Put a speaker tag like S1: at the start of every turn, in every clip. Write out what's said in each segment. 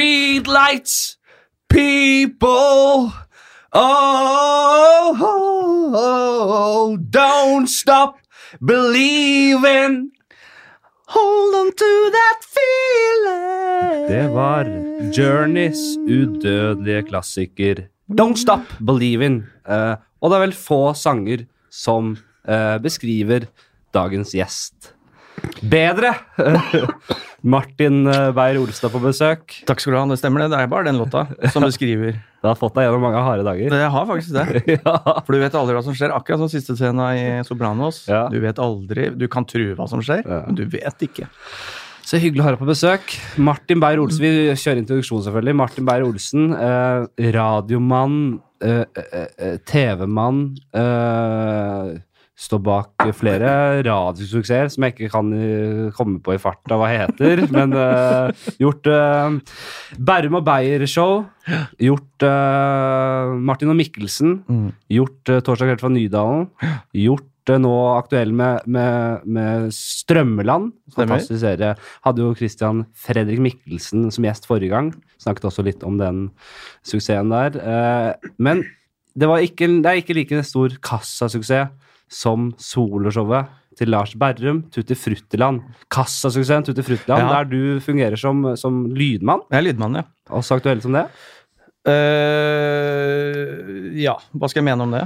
S1: Streetlights, people. Oh, oh, oh, don't stop believing. Hold on to that feeling. Det var Journeys udødelige klassiker Don't Stop Believing. Eh, og det er vel få sanger som eh, beskriver dagens gjest bedre. Eh, Martin eh, Beyer-Olstad på besøk.
S2: Takk skal du ha, det stemmer det. Det er bare den låta som beskriver.
S1: Det har fått deg gjennom mange harde dager.
S2: Det har faktisk det.
S1: ja.
S2: For du vet aldri hva som skjer. Akkurat som siste scena i Sopranos.
S1: Ja.
S2: Du vet aldri. Du kan tro hva som skjer,
S1: Ja.
S2: men du vet ikke.
S1: Så hyggelig å ha deg på besøk. Martin Beyer-Olsen, vi kjører introduksjon selvfølgelig. Martin Beyer-Olsen, eh, radiomann, eh, eh, eh, TV-mann, eh, står bak flere radiosuksesser som jeg ikke kan eh, komme på i farta hva heter, men eh, gjort eh, Bærum og Beyer-show, gjort eh, Martin og Mikkelsen,
S2: Mm.
S1: Gjort eh, Torsdag kveld fra Nydalen. Gjort eh, nå aktuell med, med, med Strømmeland.
S2: Stemmer.
S1: Fantastisk serie. Hadde jo Christian Fredrik Mikkelsen som gjest forrige gang. Snakket også litt om den suksessen der. Eh, Men det, var ikke, det er ikke like stor kassasuksess som soloshowet til Lars Berrum, Tutti Fruttiland. Kassasuksessen Tutti Fruttiland,
S2: Ja.
S1: der du fungerer som, som lydmann.
S2: Jeg er lydmann, ja.
S1: Også aktuell som det.
S2: Eh, ja, hva skal jeg mene om det?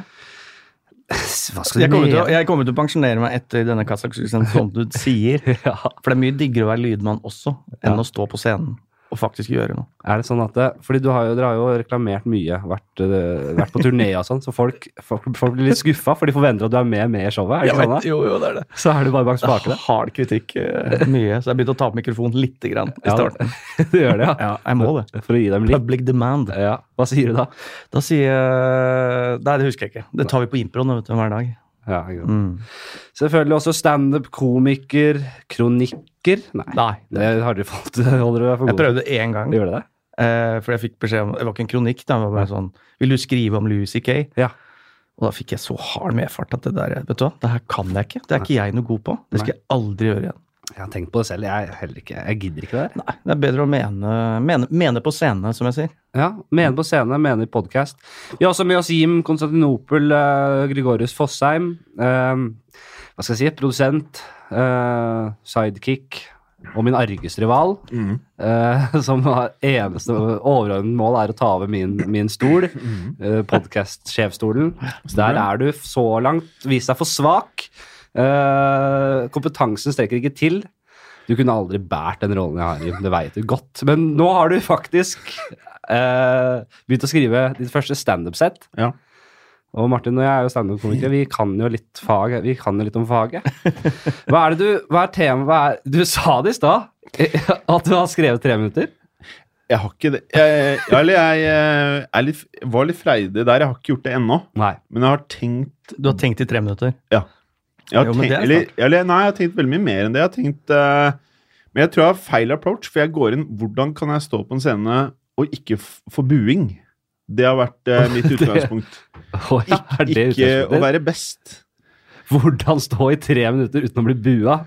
S1: Hva
S2: Jeg kommer til å, jeg kommer til å pensjonere meg etter denne kassaksuksenten, som du sier.
S1: Ja.
S2: For det er mye diggere å være lydmann også, enn
S1: Ja.
S2: å stå på scenen og faktisk gjøre noe.
S1: Er det sånn at det, Fordi du har jo, dere har jo reklamert mye, vært, eh, vært på turné og sånn, så folk, folk, folk blir litt skuffa, for de forventer at du er med med i showet. Er det
S2: Jeg
S1: sånn
S2: vet-
S1: da?
S2: jo, jo, det er det.
S1: Så er du bare bak spakene.
S2: Hard kritikk eh, mye, så jeg begynte å ta opp mikrofonen lite grann i
S1: Ja.
S2: starten.
S1: Du gjør det, ja.
S2: Ja, jeg må det.
S1: For å gi dem litt.
S2: Public demand.
S1: Ja. Hva sier du da?
S2: Da sier jeg Nei, det husker jeg ikke. Det tar vi på improen vet du, hver dag.
S1: Ja, ikke sant. Selvfølgelig også standup, komiker, kronikker. Nei,
S2: Nei.
S1: det har dere fått. Holder du deg for
S2: Jeg
S1: god
S2: prøvde én gang,
S1: til? Gjør dere det?
S2: eh, for jeg fikk beskjed om Det var ikke en kronikk, da, det var bare sånn Vil du skrive om Louis C.K.?
S1: Ja.
S2: Og da fikk jeg så hard medfart at det der Vet du hva, det her kan jeg ikke. Det er ikke jeg noe god på. Det skal jeg aldri gjøre igjen.
S1: Jeg har tenkt på det selv. Jeg, er heller ikke, jeg gidder ikke det der.
S2: Nei, det er bedre å mene, mene, mene på scenen, som jeg sier.
S1: Ja, Mener på scene, mener i podkast. Vi har også med oss Jim Konstantinopel, eh, Gregorius Fossheim. eh, hva skal jeg si? Produsent, eh, sidekick og min argesrival. eh, som har eneste overordnede mål er å ta over min, min stol, uh, podkast-sjefstolen. Der er du så langt vist deg for svak. Eh, kompetansen strekker ikke til. Du kunne aldri bært den rollen jeg har, Jim. Det vet du godt. Men nå har du faktisk eh, begynt å skrive ditt første standup-sett.
S3: Ja.
S1: Og Martin og jeg er jo standup-komikere. Vi kan jo litt fag, vi kan jo litt om faget. Hva er det du Hva er temaet hva er, Du sa det i stad, eh, at du har skrevet tre minutter.
S3: Jeg har ikke det. Jeg, jeg- eller jeg, eh, er litt, var litt freidig der. Jeg har ikke gjort det ennå.
S1: Nei.
S3: Men jeg har tenkt
S2: Du har tenkt i tre minutter.
S3: jeg har
S2: Jo, men
S3: tenkt,
S2: det er
S3: eller, eller, Nei, jeg har tenkt veldig mye mer enn det. Jeg har tenkt eh, Men jeg tror jeg har feil approach, for jeg går inn Hvordan kan jeg stå på en scene og ikke f- få buing? Det har vært eh, mitt utgangspunkt.
S1: Å, ja, er det
S3: Ikke å
S1: utgangspunktet?
S3: være best.
S1: Hvordan stå i tre minutter uten å bli bua?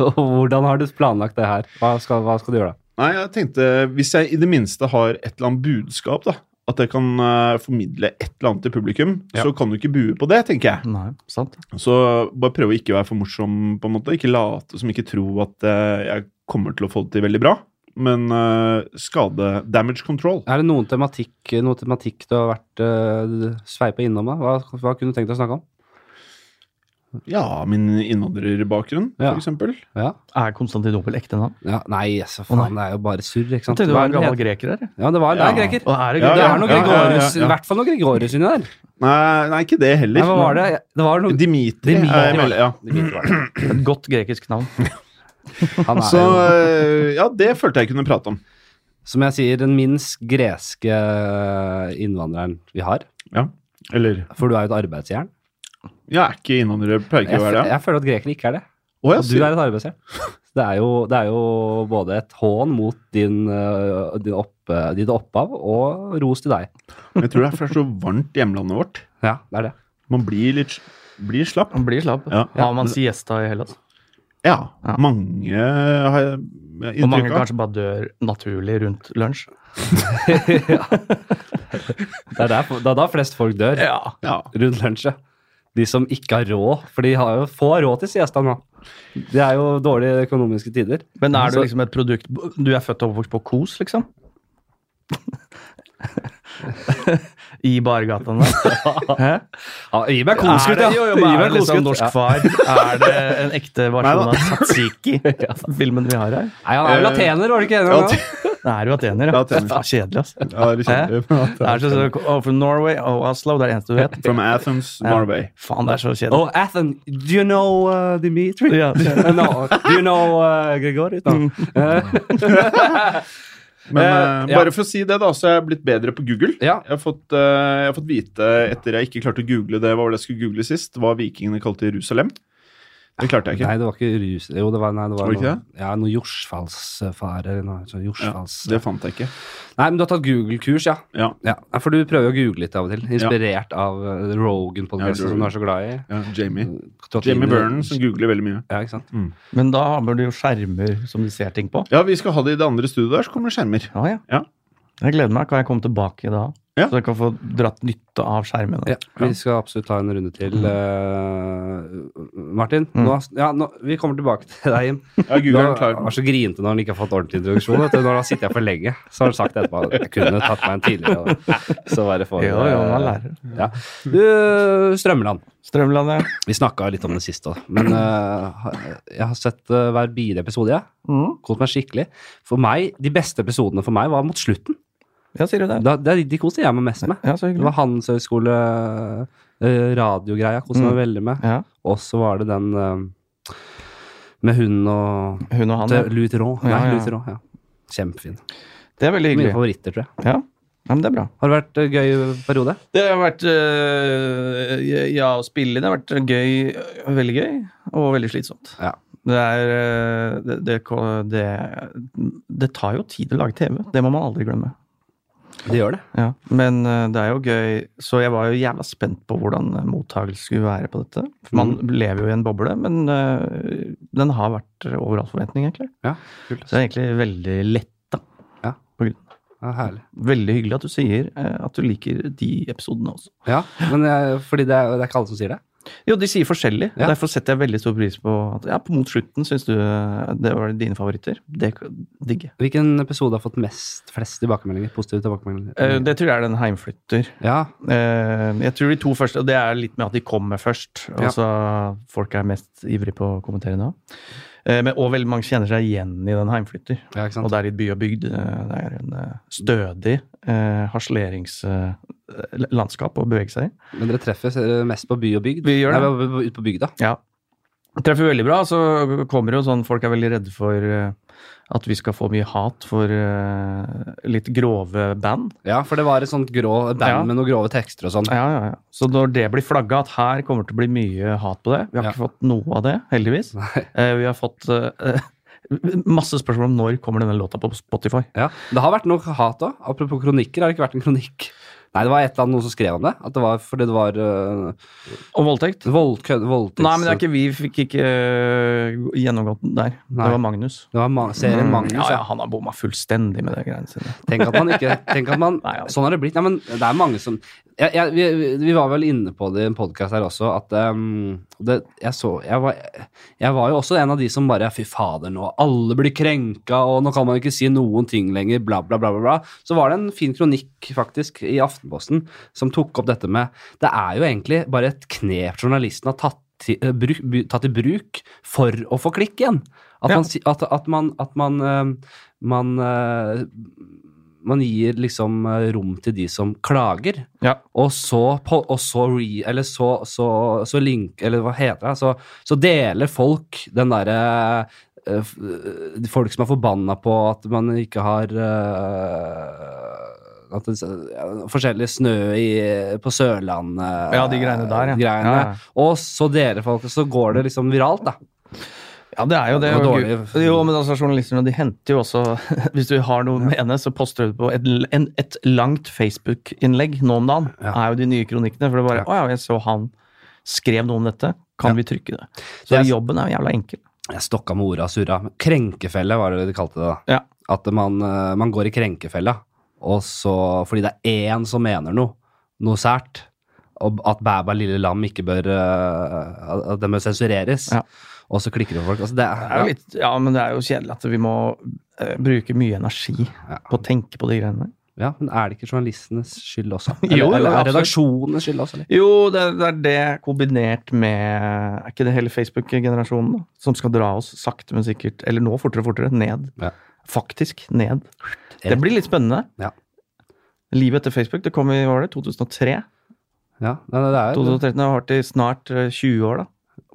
S1: Og hvordan har du planlagt det her? Hva skal, hva skal du gjøre da?
S3: Nei, jeg tenkte Hvis jeg i det minste har et eller annet budskap, da at jeg kan eh, formidle et eller annet til publikum,
S1: Ja.
S3: så kan du ikke bue på det, tenker jeg.
S2: Nei, sant?
S3: Så bare prøve å ikke være for morsom, på en måte. Ikke late som, ikke tro at eh, jeg kommer til å få det til veldig bra. Men eh, skade Damage control.
S1: Er det noen tematikk, noen tematikk du har vært uh, sveipa innom? da? Hva, hva kunne du tenkt deg å snakke om?
S3: Ja, min innvandrerbakgrunn,
S1: Ja.
S3: for eksempel.
S1: Ja.
S2: Er Konstantinopel ekte navn?
S1: ja nei, så faen, det er jo bare surr, ikke
S2: Jeg
S1: sant?
S2: tenkte du
S1: Hva
S2: var
S1: er
S2: en
S1: det
S2: gammel
S1: det
S2: greker der.
S1: heter? Ja, det var, det er
S3: Ja.
S1: greker.
S2: Og er det
S3: Ja,
S1: Det
S2: greker?
S1: er noe
S3: ja, ja, ja,
S1: Gregorius,
S3: ja.
S1: i hvert fall noe Gregorius inni der.
S3: Nei, nei, ikke det heller.
S1: Nei, hva var det? Det var noe
S3: Dimitri.
S1: Dimitri.
S3: er jeg mel- sånn- ja.
S2: Et godt grekisk navn.
S1: Han er
S3: Så
S1: jo,
S3: eh, ja, det følte jeg kunne prate om.
S1: som jeg sier, den minst greske innvandreren vi har.
S3: Ja. Eller
S1: For du er jo et arbeidsjern.
S3: Jeg er ikke innvandrer, pleier ikke
S1: Jeg,
S3: å være
S1: fø-
S3: det.
S1: jeg føler at grekere ikke er det.
S3: Å, ja,
S1: Og du
S3: så-
S1: er et arbeidsjern. Det er, jo, det er jo både et hån mot din, eh, din opp, eh, ditt opphav og ros til deg.
S3: Jeg tror det er for det er så varmt i hjemlandet vårt.
S1: Ja, det er det.
S3: Man blir litt blir slapp.
S2: Han blir slapp.
S3: Ja.
S2: Har man siesta i altså. Hellas?
S3: Ja.
S2: Ja.
S3: Mange har jeg
S2: Og mange
S3: inntrykk av.
S2: kanskje bare dør naturlig rundt lunsj.
S1: Det er, der, det er da flest folk dør.
S2: Ja.
S3: Ja.
S1: rundt lunsj. ja. De som ikke har råd, for de har jo få råd til siesta nå. Det er jo dårlige økonomiske tider.
S2: Men er du
S1: Så-
S2: liksom et produkt Du er født og oppvokst på Kos, liksom? I bargata der? Hæ?
S1: Ja, gi meg
S2: Er
S1: kosekutt,
S2: det,
S1: ja!
S2: jo,
S1: Gi
S2: men er
S1: meg
S2: det liksom
S1: kosekutt.
S2: norsk
S1: Ja.
S2: far? Er det en ekte versjon
S3: Neida.
S2: av Tzatziki-filmen vi har her?
S1: Nei, han
S2: Eh,
S1: er vel latener, var det ikke
S3: Ja,
S1: det?
S2: Det er jo atener, ja.
S3: Atener.
S2: Faen, Kjedelig, ass.
S3: Ja, det er kjempe-
S2: Det er så, så, oh, from Norway, oh, Oslo, det er det eneste du vet.
S3: From Athens, Norway.
S2: Faen, det er så kjedelig.
S1: Oh, Athen, do you know uh, Dimitri?
S2: Ja.
S1: no, do you know uh, Gregorius? No. Eh,
S3: Men
S1: Eh,
S3: eh,
S1: ja.
S3: bare for å si det, da, så er jeg blitt bedre på Google.
S1: Ja.
S3: Jeg, har fått, eh, jeg har fått vite, etter jeg ikke klarte å google det, hva var det jeg skulle google sist, hva vikingene kalte Jerusalem. Det klarte jeg ikke.
S1: nei, det var ikke rus... Jo, det var, nei, det var
S3: Var
S1: noe,
S3: det ikke
S1: ja, noe jordsfallsfare. eller noe sånn jordsfalls...
S3: Det fant jeg ikke.
S1: Nei, men du har tatt Google-kurs, ja.
S3: Ja.
S1: ja. For du prøver jo å google litt av og til. Inspirert av uh, Rogan-podkasten
S3: Ja,
S1: som du er så glad i.
S3: ja Jamie.
S1: Trådt
S3: Jamie
S1: inn i-
S3: Vernon, som googler veldig mye.
S1: Ja, ikke sant?
S2: Men da har du jo skjermer som du ser ting på.
S3: Ja, vi skal ha det i det andre studioet der, så kommer det skjermer.
S2: Ja, ja.
S3: Ja.
S2: Jeg gleder meg. Kan jeg komme tilbake da?
S3: Ja.
S2: Så jeg kan få dratt nytte av skjermene.
S1: Ja, vi skal absolutt ta en runde til.
S3: Mm.
S1: eh, Martin, nå, ja, nå, vi kommer tilbake til deg, Jim.
S3: Ja,
S1: Du
S3: Google er
S1: har- var
S3: klar.
S1: så grinete når han ikke har fått ordentlig introduksjon. Vet du. Når han sitter jeg for lenge, så har han sagt etterpå at jeg kunne tatt meg en tidligere. og Så var det for,
S2: Jo, jo, man
S1: eh,
S2: lærer.
S1: ja. Du, Strømland.
S2: Strømlandet.
S1: Vi snakka litt om det siste òg, men eh, jeg har sett eh, hver bidige episode, jeg.
S2: Mm.
S1: Kost meg skikkelig. For meg, De beste episodene for meg var mot slutten.
S2: Ja, sier du det?
S1: Da, det er de- de koste jeg meg mest med.
S2: Ja, så
S1: Det
S2: hyggelig.
S1: var Handelshøyskole, eh, radiogreia, koste
S2: Mm.
S1: meg veldig med.
S2: Ja,
S1: Og så var det den eh, med hunden og
S2: hun og han.
S1: til
S2: ja.
S1: Louis Theroux. Nei,
S2: Ja, ja.
S1: Louis Theroux, ja. Kjempefin.
S2: Det er veldig
S1: Mine
S2: hyggelig.
S1: favoritter, tror jeg.
S2: Ja. ja, men det er bra.
S1: Har det vært eh, gøy periode?
S2: Det har vært øh, Ja, å spille det har vært gøy. øh, Veldig gøy, og veldig slitsomt.
S1: Ja.
S2: Det er øh, det, det, ko- det, det tar jo tid å lage TV. Det må man aldri glemme.
S1: Det gjør det.
S2: Ja, Men øh, det er jo gøy, så jeg var jo jævla spent på hvordan øh, mottagelsen skulle være på dette. For man lever jo i en boble, men øh, den har vært over all forventning, egentlig.
S1: Ja, kult.
S2: Så jeg er egentlig veldig letta.
S1: Ja.
S2: på grunn.
S1: Ja, herlig.
S2: Veldig hyggelig at du sier eh, at du liker de episodene også.
S1: Ja, men jeg, fordi det er, det er ikke alle som sier det.
S2: Jo, de sier forskjellig.
S1: Ja.
S2: Derfor setter jeg veldig stor pris på at ja, på mot slutten syns du eh, det var dine favoritter. Det k- digger jeg.
S1: Hvilken episode har fått mest flest tilbakemeldinger? Positive tilbakemeldinger?
S2: Eh, Det tror jeg er den heimflytter.
S1: Ja,
S2: Eh, Jeg tror de to første, og det er litt med at de kommer først.
S1: Ja.
S2: Og så folk er mest ivrig på å kommentere nå. Eh, Men, og veldig mange kjenner seg igjen i den heimflytter.
S1: ja, ikke
S2: Og
S1: sant?
S2: det er litt by og bygd. eh, Det er en eh, stødig eh, harsleringslandskap å bevege seg i.
S1: Men dere treffer eh, mest på by og bygd?
S2: Vi gjør det.
S1: Nei, vi er ute på bygda.
S2: Ja. Treffer veldig bra. Så kommer det jo sånn Folk er veldig redde for eh, at vi skal få mye hat for eh, litt grove band.
S1: Ja, for det var et sånt grå band
S2: Ja.
S1: med noen grove tekster og sånn.
S2: Ja, ja, ja. Så når det blir flagga at her kommer det til å bli mye hat på det Vi har
S1: Ja.
S2: ikke fått noe av det, heldigvis.
S1: Nei.
S2: Eh, vi har fått eh, masse spørsmål om når kommer denne låta på Spotify.
S1: Ja, Det har vært noe hat òg. Apropos kronikker, har det ikke vært en kronikk? Nei, det var et eller annet noen som skrev om det. At det var fordi det var uh,
S2: Og voldtekt?
S1: vold, kø- voldtekts...
S2: Nei, men det er ikke, vi fikk ikke eh, gjennomgått den der.
S1: Nei.
S2: Det var Magnus.
S1: Det var ma serien Magnus,
S2: Mm. ja, ja,
S1: ja.
S2: han har bomma fullstendig med de greiene sine.
S1: Tenk at man ikke tenk at man,
S2: Nei, altså. ja.
S1: Sånn har det blitt. Nei, men det er mange som jeg, jeg, vi, vi- vi var vel inne på det i en podkast her også, at ehm, det, jeg så jeg var, jeg var jo også en av de som bare Fy fader, nå alle blir krenka, og nå kan man ikke si noen ting lenger, bla, bla, bla, bla. bla. Så var det en fin kronikk, faktisk, i Aftenposten som tok opp dette med Det er jo egentlig bare et knep journalisten har tatt til, eh, bruk, bu- tatt i bruk for å få klikk igjen. At
S2: Ja.
S1: man, si- at, at man, at man, ehm, man eh, man gir liksom eh, rom til de som klager,
S2: Ja.
S1: og så, på, og så re... Eller så, så, så link... Eller hva heter det? Så, så deler folk den derre eh, f- eh, Folk som er forbanna på at man ikke har eh, at det, ja, forskjellig snø i, på Sørlandet
S2: Ja, de greiene der, ja.
S1: greiene.
S2: Ja, ja.
S1: Og så deler folk, og så går det liksom viralt, da.
S2: Ja, det er jo det.
S1: Det var
S2: og
S1: dårlig.
S2: gud- Jo, men altså, journalistene de henter jo også Hvis du har noe med henne, så poster du det på et, l- en, et langt Facebook-innlegg nå om dagen.
S1: Ja.
S2: er jo de nye kronikkene. For det er bare
S1: Ja.
S2: Å ja, jeg så han skrev noe om dette. Kan
S1: Ja.
S2: vi trykke det?
S1: Det
S2: Så
S1: er-
S2: jobben er jo jævla enkel.
S1: Jeg stokka med orda surra. Krenkefelle var det de kalte det. da.
S2: Ja.
S1: At man, eh, man går i krenkefella, og så, fordi det er én som mener noe, noe sært, og at Bæba lille lam ikke bør eh, at- At den bør sensureres.
S2: Ja.
S1: Og så klikker det for folk. Altså, det
S2: Det er
S1: er,
S2: jo
S1: ja.
S2: litt, ja, men det er jo kjedelig at vi må eh, bruke mye energi på å tenke på de greiene.
S1: ja, men er det ikke journalistenes skyld også?
S2: Jo,
S1: Eller,
S2: jo,
S1: eller er
S2: absolutt.
S1: redaksjonenes skyld også? Eller?
S2: Jo, det, det er det kombinert med Er ikke det hele Facebook-generasjonen da? som skal dra oss sakte, men sikkert, eller nå fortere og fortere, ned?
S1: Ja.
S2: Faktisk ned. Det blir litt spennende.
S1: Ja.
S2: Livet etter Facebook, det kom i hva var det, 2003?
S1: Ja, det, det er,
S2: 2013 har vært i snart eh, 20 år, da.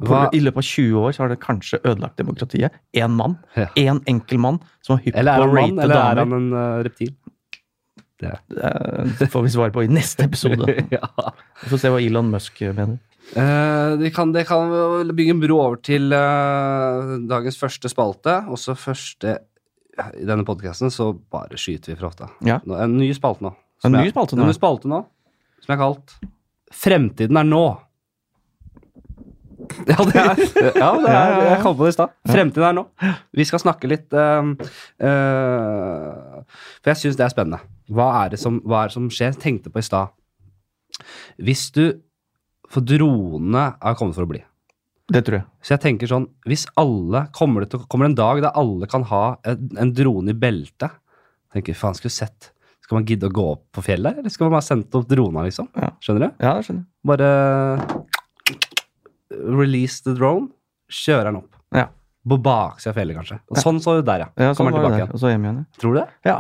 S2: På,
S1: Hva-
S2: I løpet av 20 år så har det kanskje ødelagt demokratiet. Én mann.
S1: Ja.
S2: Én enkel mann som har hypp
S1: eller er
S2: på å
S1: han mann,
S2: rate
S1: eller er han
S2: damer.
S1: en eh, reptil?
S2: Eh, Det får vi svar på i neste episode.
S1: ja.
S2: Vi får se hva Elon Musk mener.
S1: Eh, vi kan, det kan vel bygge en bro over til eh, dagens første spalte. Også første I denne podkasten så bare skyter vi fra hofta.
S2: Ja.
S1: Nå- En ny spalte nå.
S2: En
S1: som
S2: ny
S1: jeg-
S2: spalte
S1: En
S2: nå.
S1: ny spalte nå, som jeg har kalt Fremtiden er nå. Ja, det er, ja, det er,
S2: ja, ja.
S1: jeg kom på det i stad. Fremtiden er nå. Vi skal snakke litt eh, eh, For jeg syns det er spennende. Hva er det som, hva er det som skjer? Jeg tenkte på i stad Hvis du For dronene er kommet for å bli.
S2: Det tror jeg.
S1: Så jeg tenker sånn Hvis alle Kommer det til kommer det en dag der alle kan ha en, en drone i beltet? Tenker faen, skulle sett Skal man gidde å gå opp på fjellet, eller skal man bare sende opp drona, liksom?
S2: Ja.
S1: Skjønner du?
S2: Ja, det skjønner jeg.
S1: Bare Release the drone, kjører den opp.
S2: Ja.
S1: På baksida av fjellet, kanskje. Og sånn så det der, ja.
S2: Ja, sånn
S1: Kommer
S2: var det
S1: tilbake
S2: der,
S1: igjen.
S2: Og så hjem igjen.
S1: Tror du det?
S2: Ja,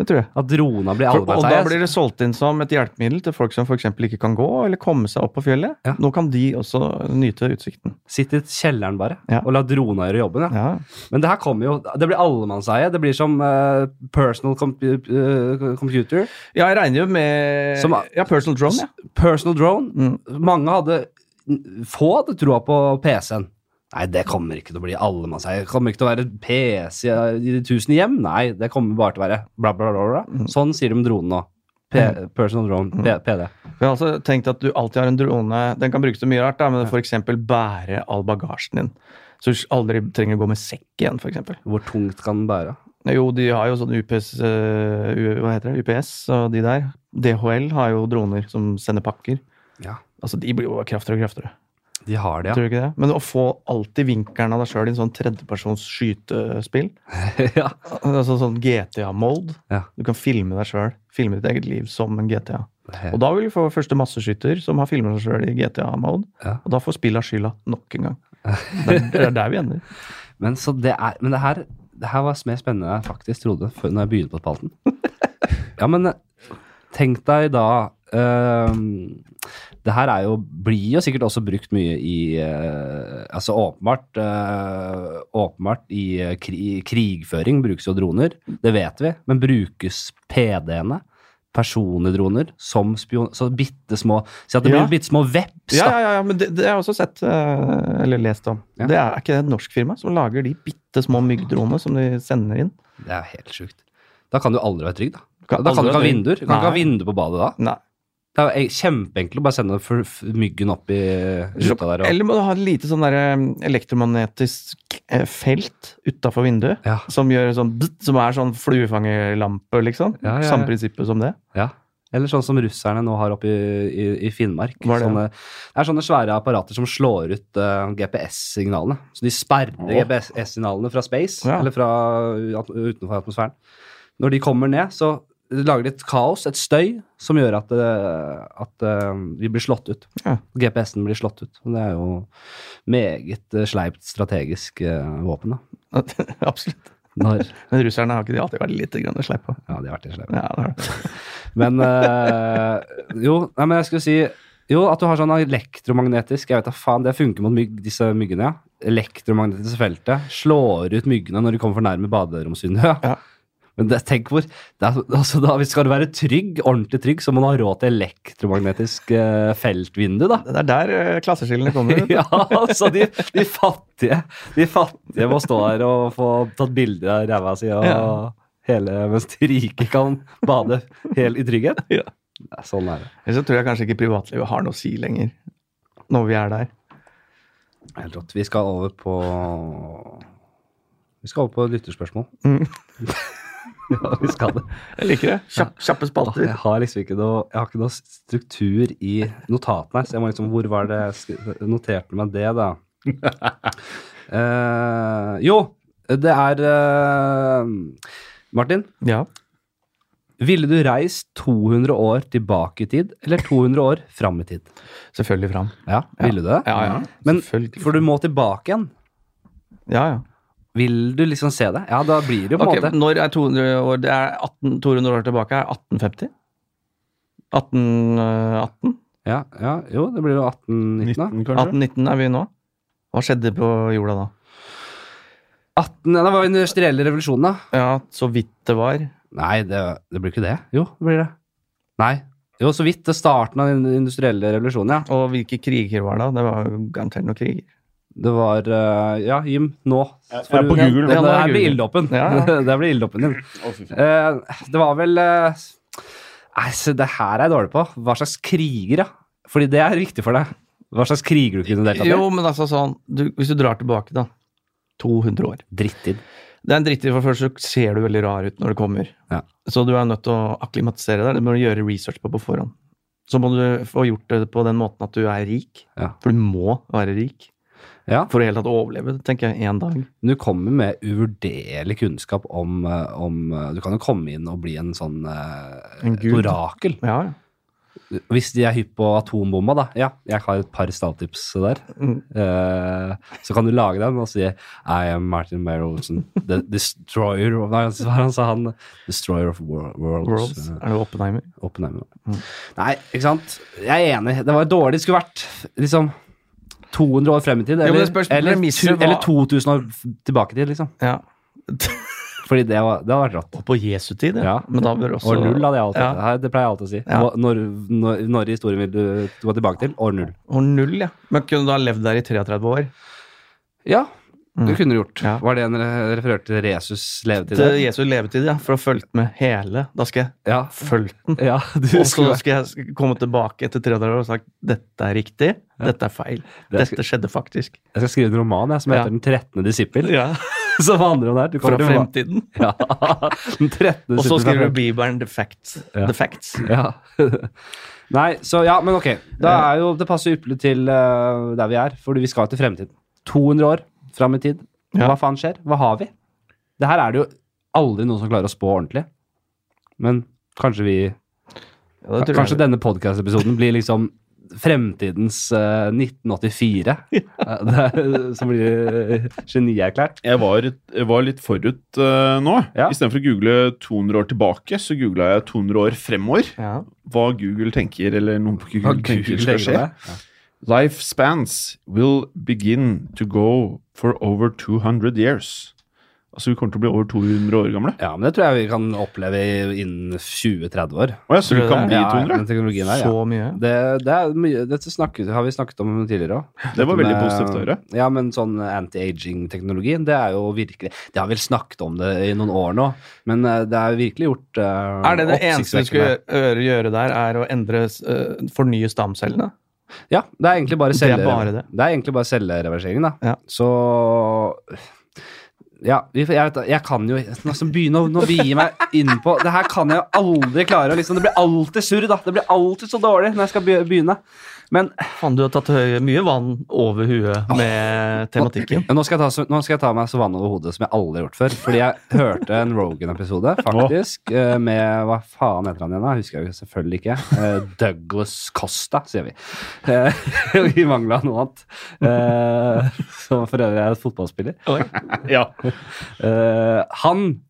S2: det tror jeg.
S1: At drona blir
S2: For, og
S1: allmennseie?
S2: da blir det solgt inn som et hjelpemiddel til folk som f.eks. ikke kan gå eller komme seg opp på fjellet.
S1: Ja.
S2: Nå kan de også nyte utsikten.
S1: Sitt i kjelleren bare
S2: Ja.
S1: og la drona gjøre jobben. Ja.
S2: Ja.
S1: Men det her kommer jo Det blir allemannseie. Det blir som eh, personal compu eh, computer.
S2: Ja, jeg regner jo med
S1: Som-
S2: Ja, personal drone, ja.
S1: Personal drone.
S2: Mm.
S1: Mange hadde Få hadde troa på PC-en. Nei, det kommer ikke til å bli allemannseie. Det kommer ikke til å være PC i de tusen hjem. Nei, det kommer bare til å være bla, bla, bla. bla. Sånn sier de om dronen nå. P personal drone, P PD.
S2: Vi har altså tenkt at du alltid har en drone. Den kan brukes til mye rart, da, men f.eks. bære all bagasjen din. Så du aldri trenger å gå med sekk igjen, f.eks.
S1: Hvor tungt kan den bære?
S2: Jo, de har jo sånn UPS, eh, U- hva heter det? UPS og de der. DHL har jo droner som sender pakker.
S1: Ja.
S2: Altså, De blir jo bare kraftigere og kraftigere.
S1: De har det,
S2: Tror du ikke det? Men å få alltid vinkelen av deg sjøl i en sånn tredjepersons skytespill,
S1: ja. ja.
S2: altså sånn GTA-mode
S1: Ja.
S2: Du kan filme deg sjøl, filme ditt eget liv som en GTA. Og da vil vi få første masseskytter som har filma seg sjøl i GTA-mode.
S1: Ja.
S2: Og da får spilla skylda nok en gang. Det er, det er der vi ender.
S1: Men, så det, er, men det, her, det her var mer spennende enn jeg faktisk trodde før, når jeg begynte på spalten. ja, men eh, tenk deg da ehm, Det her er jo, blir jo sikkert også brukt mye i eh, Altså åpenbart eh, Åpenbart i eh, kri, krigføring brukes jo droner, det vet vi. Men brukes PD-ene? Personlige droner som spion... Så bitte små Si at det blir
S2: Ja.
S1: bitte små veps, da.
S2: Ja, ja, ja, ja men det, det har jeg også sett, eh, eller lest om.
S1: Ja.
S2: Det er ikke det et norsk firma som lager de bitte små myggdronene som de sender inn?
S1: Det er helt sjukt. Da kan du aldri være trygg, da.
S2: Du kan
S1: Da kan du
S2: aldri
S1: ikke ha
S2: ha
S1: vinduer. Du kan ikke ha
S2: Nei.
S1: vinduer på badet da.
S2: Nei.
S1: Det er jo e- kjempeenkelt å bare sende f- f- myggen opp i ruta der. Og,
S2: Eller må du ha et lite sånn der eh, elektromagnetisk eh, felt utafor vinduet.
S1: ja,
S2: Som, gjør sånn, bzzt, som er sånn fluefangerlampe, liksom.
S1: Ja, ja, ja.
S2: Samme prinsippet som det.
S1: ja. Eller sånn som russerne nå har oppe i, i, i Finnmark.
S2: Hva er det?
S1: Sånne, det er sånne svære apparater som slår ut eh, GPS-signalene. Så de sperrer
S3: Åh.
S1: GPS-signalene fra space,
S2: Ja.
S1: eller fra at- utenfor atmosfæren. Når de kommer ned, så lager de et kaos, et støy, som gjør at, eh, at eh, vi blir slått ut.
S2: Ja.
S1: GPS-en blir slått ut. Og det er jo meget eh, sleipt strategisk eh, våpen, da.
S2: Absolutt.
S1: Når
S2: Men russerne har ikke de alltid vært litt grann sleipe.
S1: Ja, de har vært litt slemme.
S2: Ja, det har de.
S1: Men eh, jo, nei, men jeg skulle si Jo, at du har sånn elektromagnetisk Jeg vet da faen, det funker mot mygg, disse myggene, ja. Elektromagnetiske feltet slår ut myggene når de kommer for nærme baderomsvinduet.
S2: Ja.
S1: Men det, tenk hvor det er, altså da, hvis Skal du være trygg, ordentlig trygg, så må du ha råd til elektromagnetisk eh, feltvindu, da.
S2: det er der eh, klasseskillene kommer. vet du.
S1: Ja, så de, de fattige De fattige må stå her og få tatt bilder av ræva si og
S2: Ja.
S1: hele, mens de rike kan bade helt i trygghet.
S2: Ja.
S1: Nei, sånn er det.
S2: Ellers så tror jeg kanskje ikke privatlivet har noe å si lenger, når vi er der.
S1: Helt rått. Vi skal over på Vi skal over på lytterspørsmål.
S2: Ja, vi skal det. Jeg liker det. Kjapp, kjappe spalter.
S1: Jeg har liksom ikke noe, jeg har ikke noe struktur i notatene her, så jeg må liksom Hvor var det jeg skri- noterte meg det, da? Eh, jo, det er eh, Martin.
S2: Ja.
S1: Ville du reist 200 år tilbake i tid, eller 200 år fram i tid?
S2: Selvfølgelig fram.
S1: Ja, ville du det?
S2: Ja, ja.
S1: Men-
S2: Selvfølgelig.
S1: For du må tilbake igjen.
S2: Ja, ja.
S1: Vil du liksom se det? Ja, da blir det jo på en
S2: Ok,
S1: måte
S2: Når er 200 år Det er 18, 200 år tilbake. Er 1850? 1818?
S1: ja, ja, Jo, det blir jo 1819, da.
S3: 19, kanskje?
S2: 1819 er vi nå. Hva skjedde på jorda da?
S1: 18, ja, det var jo industriell revolusjon, da.
S2: Ja, så vidt det var.
S1: Nei, det, det blir ikke det. Jo, det blir det. Nei. Jo, så vidt. Det starten av den industrielle revolusjonen, ja.
S2: Og hvilke kriger var det? da? Det var jo garantert noen kriger.
S1: Det var eh, Ja, Jim, nå.
S3: Jeg- jeg er på
S1: Ja,
S3: Google
S1: Det,
S3: nå.
S1: det
S2: Ja, nå er
S1: her blir
S2: Google.
S1: ilddåpen.
S2: Ja, ja.
S1: det blir ilddåpen din.
S3: Å, fy faen.
S1: Eh, det var vel eh, Nei, så det her er jeg dårlig på. Hva slags kriger, ja? Fordi det er viktig for deg. Hva slags kriger du kunne deltatt i?
S2: Jo, men altså sånn du, Hvis du drar tilbake, da. 200 år.
S1: Drittid.
S2: Det er en drittid, for først så ser du veldig rar ut når det kommer.
S1: Ja.
S2: Så du er nødt til å akklimatisere deg. Det må du gjøre research på på forhånd. Så må du få gjort det på den måten at du er rik.
S1: Ja.
S2: For du må være rik
S1: Ja.
S2: for å i hele tatt overleve, tenker jeg, en dag.
S1: Men du kommer med uvurderlig kunnskap om, eh, om eh, Du kan jo komme inn og bli en sånn eh,
S2: En gud.
S1: orakel.
S2: Ja,
S1: Hvis de er hypp på atombomba, da. Ja, jeg har et par stalltips der.
S2: Mm.
S1: Eh, så kan du lage den og si I am Martin Meyer Olsen, the destroyer of Nei, hva han sa han? Destroyer of wor worlds.
S2: Worlds.
S1: eh,
S2: Er det Oppenheimer?
S1: Oppenheimer.
S2: Mm.
S1: Nei, ikke sant? Jeg er enig. Det var dårlig. Det skulle vært liksom 200 år frem i tid.
S2: men
S1: Eller,
S2: det spørs-
S1: eller,
S2: premisset
S1: tu-
S2: var-
S1: eller 2000 år f- tilbake i tid, liksom.
S2: Ja.
S1: Fordi det, var, det hadde vært rått.
S2: Og på Jesu tid,
S1: Ja.
S2: ja. Men da bør også
S1: År null hadde jeg alltid
S2: Ja.
S1: Nei, Det pleier jeg alltid å si.
S2: Ja.
S1: Hva- Når, når, når i historien vil du gå tilbake til? År null.
S2: År null, ja. Men kunne du ha levd der i 33 år?
S1: Ja,
S2: Mm.
S1: det kunne du gjort.
S2: Ja.
S1: Var det en re- refererte til Jesus levetid?
S2: Til
S1: der?
S2: Jesu levetid, ja. For å følge med hele. Da skal jeg
S1: Ja.
S2: følge den.
S1: ja, du
S2: Og så
S1: skulle
S2: skal jeg komme tilbake etter 33 år og sagt dette er riktig, dette er feil.
S1: Det skal-
S2: Dette skjedde faktisk.
S1: Jeg skal skrive en roman jeg, som heter
S2: Ja.
S1: Den 13. disippel.
S2: Ja,
S1: Som handler om det her. Du
S2: Fra
S1: kommer til-
S2: fremtiden.
S1: Ja. Den 13.
S2: Og så
S1: disippel fra
S2: skriver du Bibelen the facts.
S1: Ja.
S2: The facts.
S1: Ja. Nei, så ja, men ok. Da er jo, det passer ypperlig til eh, der vi er, for vi skal jo til fremtiden. 200 år fram i tid.
S2: Ja.
S1: Hva faen skjer? Hva har vi? Det her er det jo aldri noen som klarer å spå ordentlig. Men kanskje vi
S2: Ja, det tror
S1: Kanskje
S2: jeg.
S1: denne podkast-episoden blir liksom fremtidens eh, 1984. Eh, det, er- som blir uh, genierklært.
S3: Jeg var, jeg var litt forut uh, nå.
S1: Ja.
S3: Istedenfor å google 200 år tilbake, så googla jeg 200 år fremover.
S2: Ja.
S3: Hva Google tenker, eller noen på Google, tenker skal skje.
S1: det. Ja.
S3: Lifespans will begin to go for over 200 years. Altså, vi kommer til å bli over 200 år gamle.
S1: ja, men det tror jeg vi kan oppleve i- innen 20-30 år.
S3: Å ja, så
S2: Tror
S3: vi
S2: du
S3: kan
S2: det?
S3: bli
S1: Ja,
S3: 200?
S1: den teknologien her, ja.
S2: Så mye.
S1: Det, det er mye, dette snakket, har vi snakket om tidligere òg.
S3: Det var veldig positivt å høre.
S1: Ja, men sånn anti-aging-teknologi, det er jo virkelig Det har vel snakket om det i noen år nå, men eh, det er virkelig gjort eh,
S2: Er det det eneste
S1: oppsiktsvekkende.
S2: du skulle gjøre, gjøre der, er å endre eh, Fornye stamcellene?
S1: Ja, det er egentlig bare
S2: Det er
S1: selge-
S2: bare det.
S1: Det er egentlig bare cellereversering, da.
S2: Ja.
S1: Så ja, vi får- jeg, vet, da, jeg kan jo altså, begynne å nå vie meg inn på Det her kan jeg jo aldri klare. å Liksom, det blir alltid surr, da. Det blir alltid så dårlig når jeg skal be- begynne. Men
S2: Faen, du har tatt høy- mye vann over huet med tematikken.
S1: Nå skal, jeg ta, så- nå skal jeg ta meg så vann over hodet som jeg aldri har gjort før. Fordi jeg hørte en Rogan-episode, faktisk, eh, med Hva faen heter han igjen, da? Husker jeg jo selvfølgelig ikke. Eh, Douglas Costa, sier vi. Eh, Vi mangla noe annet. Eh, Som for øvrig er et fotballspiller.
S3: Ja.
S1: Eh, Han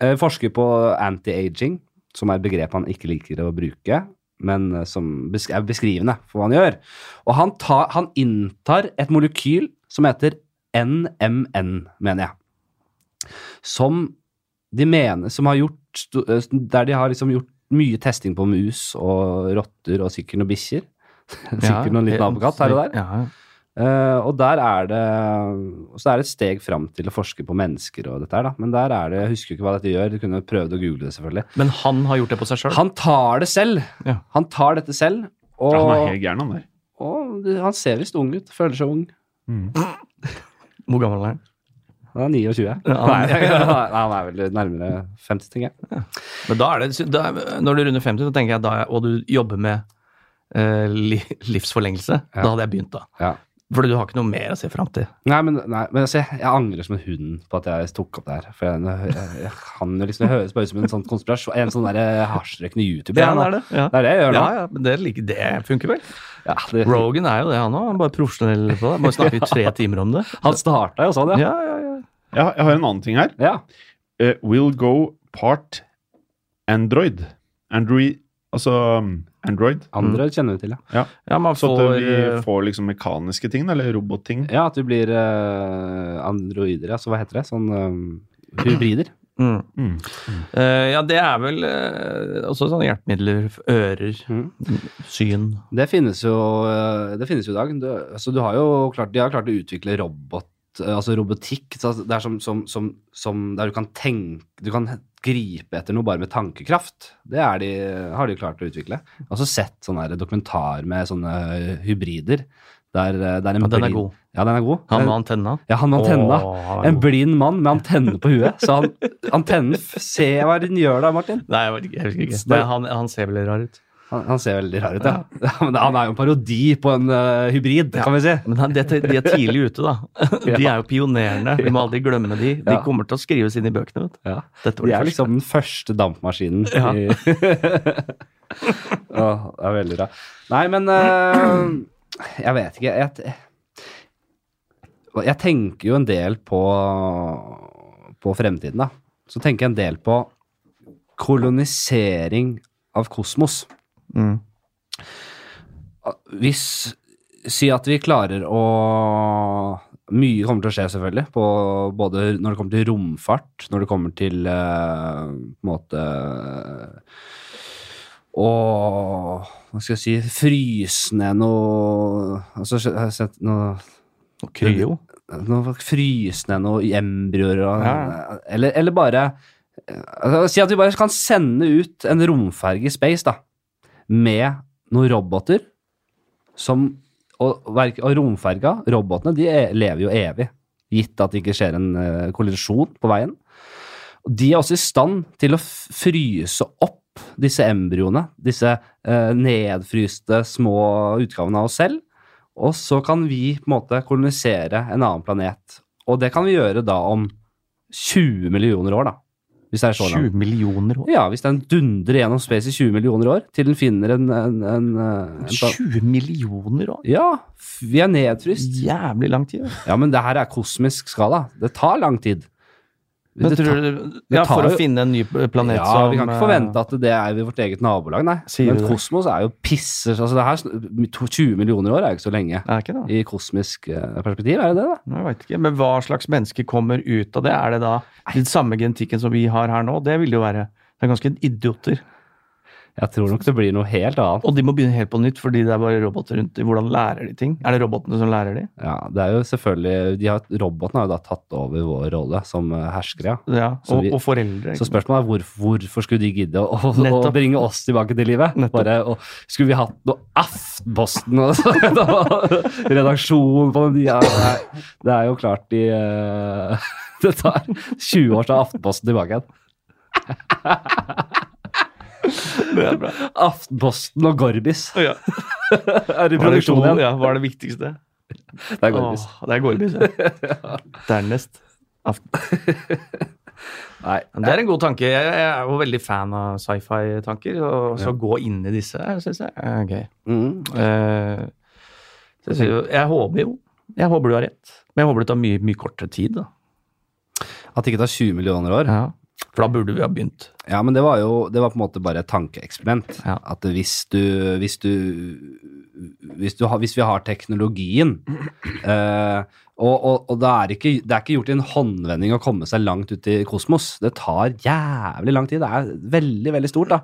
S1: eh, forsker på anti-aging, som er et begrep han ikke liker å bruke. Men eh, som besk- er beskrivende for hva han gjør. Og han, tar, han inntar et molekyl som heter NMN, mener jeg. Som de mener Som har gjort sto- eh, Der de har liksom gjort mye testing på mus og rotter og sikkert noen bikkjer. Sikkert noen liten apekatt her og der.
S2: Ja,
S1: Eh, og der er det og så er det et steg fram til å forske på mennesker og dette her, da. Men der er det Jeg husker jo ikke hva dette gjør. Du kunne prøvd å google det, selvfølgelig.
S2: Men han har gjort det på seg sjøl.
S1: Han tar det selv.
S2: Ja.
S1: Han tar dette selv. Og
S3: Han er helt gæren, han der.
S1: og det- han ser visst ung ut. Føler seg ung.
S2: Hvor gammel er han?
S1: Han er 29.
S2: Ja.
S1: Nei, nei, han er vel nærmere 50, tenker jeg.
S2: Men da er det, da, er- når du runder 50, så tenker jeg da, og du jobber med eh, li, livsforlengelse, da hadde jeg begynt da.
S1: Ja.
S2: Fordi du har ikke noe mer å se fram til.
S1: Nei, men, nei, men altså, jeg, jeg angrer som en hund på at jeg tok opp det her. For jeg, jeg, jeg kan jo liksom det høres bare ut som en sånn konspirasjon, en sånn derre hasjrøykende YouTuber.
S2: Ja,
S1: jeg, nå.
S2: det. Ja.
S1: det er det jeg gjør nå.
S2: Ja, ja, men det, liker- det funker vel?
S1: Ja, det,
S2: Rogan er jo det, han òg. Han er bare profesjonell på det. Bare snakker i tre timer om det.
S1: han starta jo sånn, ja.
S2: Ja, ja, ja.
S3: Jeg, har- jeg har en annen ting her.
S1: ja.
S3: Eh, will go part Android. Android Altså um, Android.
S1: Andre kjenner vi til, ja.
S2: ja man
S3: Så
S2: får,
S3: at vi
S2: eh,
S3: får liksom mekaniske ting, da, eller robotting.
S1: Ja, at du blir eh, androider, altså hva heter det? Sånn eh, hybrider.
S2: mm.
S3: Mm.
S2: Eh, ja, det er vel eh, også sånne hjelpemidler. Ører,
S1: Mm.
S2: syn
S1: Det finnes jo, eh, det finnes jo i dag. Du, altså, du har jo klart, de har klart å utvikle robot, eh, altså robotikk. Så altså, det er som, som, som, som der du kan tenke Du kan gripe etter noe bare med tankekraft. Det er de, har de klart å utvikle. Jeg har også sett sånn her dokumentar med sånne hybrider. Der, eh, det er en
S2: Ja, den er
S1: blind-
S2: god.
S1: Ja, den er god.
S2: Han
S1: Den-
S2: med antenna.
S1: ja, han med antenna.
S2: Åh, han er
S1: En
S2: god.
S1: blind mann med antenne på huet. Så han, antennen f- Se hva den gjør da, Martin.
S2: Nei, jeg vet ikke. Jeg husker ikke. Det, han, han ser veldig rar ut.
S1: Han, han ser veldig rar ut, ja. Men han er jo en parodi på en eh, hybrid, kan vi si.
S2: Men han, det, de er tidlig ute, da. De er jo pionerene. Vi må aldri glemme de. De
S1: Ja.
S2: kommer til å skrives inn i bøkene. vet du.
S1: Ja.
S2: Dette
S1: De
S2: var
S1: er
S2: det
S1: liksom den første dampmaskinen.
S2: Ja.
S1: I... Åh, det er veldig bra. Nei, men eh, Jeg vet ikke. Jeg, t- jeg tenker jo en del på, på fremtiden, da. Så tenker jeg en del på kolonisering av kosmos.
S2: Mm.
S1: hvis Si at vi klarer å Mye kommer til å skje, selvfølgelig. På både når det kommer til romfart, når det kommer til eh, på en måte Å Hva skal jeg si Fryse ned noe altså, Jeg har sett noe
S2: Og Kryo.
S1: noe frysende, noe embryoer og,
S2: Ja.
S1: eller, eller bare altså, Si at vi bare kan sende ut en romferge i space, da. Med noen roboter som Og, verk- og romferga, robotene, de e- lever jo evig. Gitt at det ikke skjer en eh, kollisjon på veien. Og de er også i stand til å f- fryse opp disse embryoene. Disse eh, nedfryste små utgavene av oss selv. Og så kan vi på en måte kolonisere en annen planet. Og det kan vi gjøre da om 20 millioner år, da. Hvis det er så langt.
S2: 20 millioner år.
S1: Ja, hvis den dundrer gjennom space i 20 millioner år, til den finner en, en, en, eh, en pla-
S2: 20 millioner år?
S1: Ja, f- vi er nedfryst.
S2: Jævlig lang tid.
S1: Ja, men det her er kosmisk skala. Det tar lang tid.
S2: Men
S1: Det
S2: tror
S1: tar-
S2: du, ja,
S1: tar
S2: for å
S1: jo-
S2: finne en ny planet
S1: ja,
S2: som
S1: Vi kan ikke
S2: eh,
S1: forvente at det er ved vårt eget nabolag, nei.
S2: Sier
S1: Men
S2: du det?
S1: kosmos er jo pisser altså det her, sn- 20 millioner år er jo ikke så lenge.
S2: Er ikke det?
S1: I kosmisk eh, perspektiv, er det det? da?
S2: Nei, Jeg vet ikke. Men hva slags menneske kommer ut av det? Er det da den samme genetikken som vi har her nå? Det vil jo være det er ganske idioter.
S1: Jeg tror nok det blir noe helt annet.
S2: Og de må begynne helt på nytt, fordi det er bare roboter rundt. Hvordan lærer de ting? Er det robotene som lærer de?
S1: Ja, det er jo selvfølgelig de har, Robotene har jo da tatt over vår rolle som eh, herskere. ja.
S2: Ja,
S1: Så
S2: Og,
S1: vi-
S2: og foreldre.
S1: Så spørsmålet er hvor, hvorfor skulle de gidde å, å, å
S2: Nettopp.
S1: bringe oss tilbake til livet?
S2: Nettopp.
S1: Bare, og, skulle vi hatt noe Aftenposten og sånn? og Redaksjon på den ja, nei, Det er jo klart de eh, Det tar 20 år til Aftenposten tilbake igjen.
S2: Det er bra.
S1: Aftenposten og Gorbis
S2: Ja.
S1: er i
S2: Var det,
S1: produksjon igjen.
S2: ja, hva er det viktigste?
S1: Det er Gorbis.
S2: Åh, det er Gorbis. Ja. Dernest. Aften.
S1: Nei,
S2: Men Det er en god tanke. Jeg jeg er jo veldig fan av sci-fi-tanker. Og så gå inn i disse syns jeg er gøy.
S1: mm,
S2: Eh, så jeg, sier jo- jeg håper jo Jeg håper du har rett. Men jeg håper det tar mye, mye kortere tid, da.
S1: At det ikke tar 20 millioner år.
S2: For da burde vi ha begynt.
S1: Ja, men det var jo det var på en måte bare et tankeeksperiment.
S2: Ja.
S1: At hvis du Hvis du hvis, du har, hvis vi har teknologien eh, Og, og, og det, er ikke, det er ikke gjort i en håndvending å komme seg langt ut i kosmos. Det tar jævlig lang tid. Det er veldig, veldig stort. da.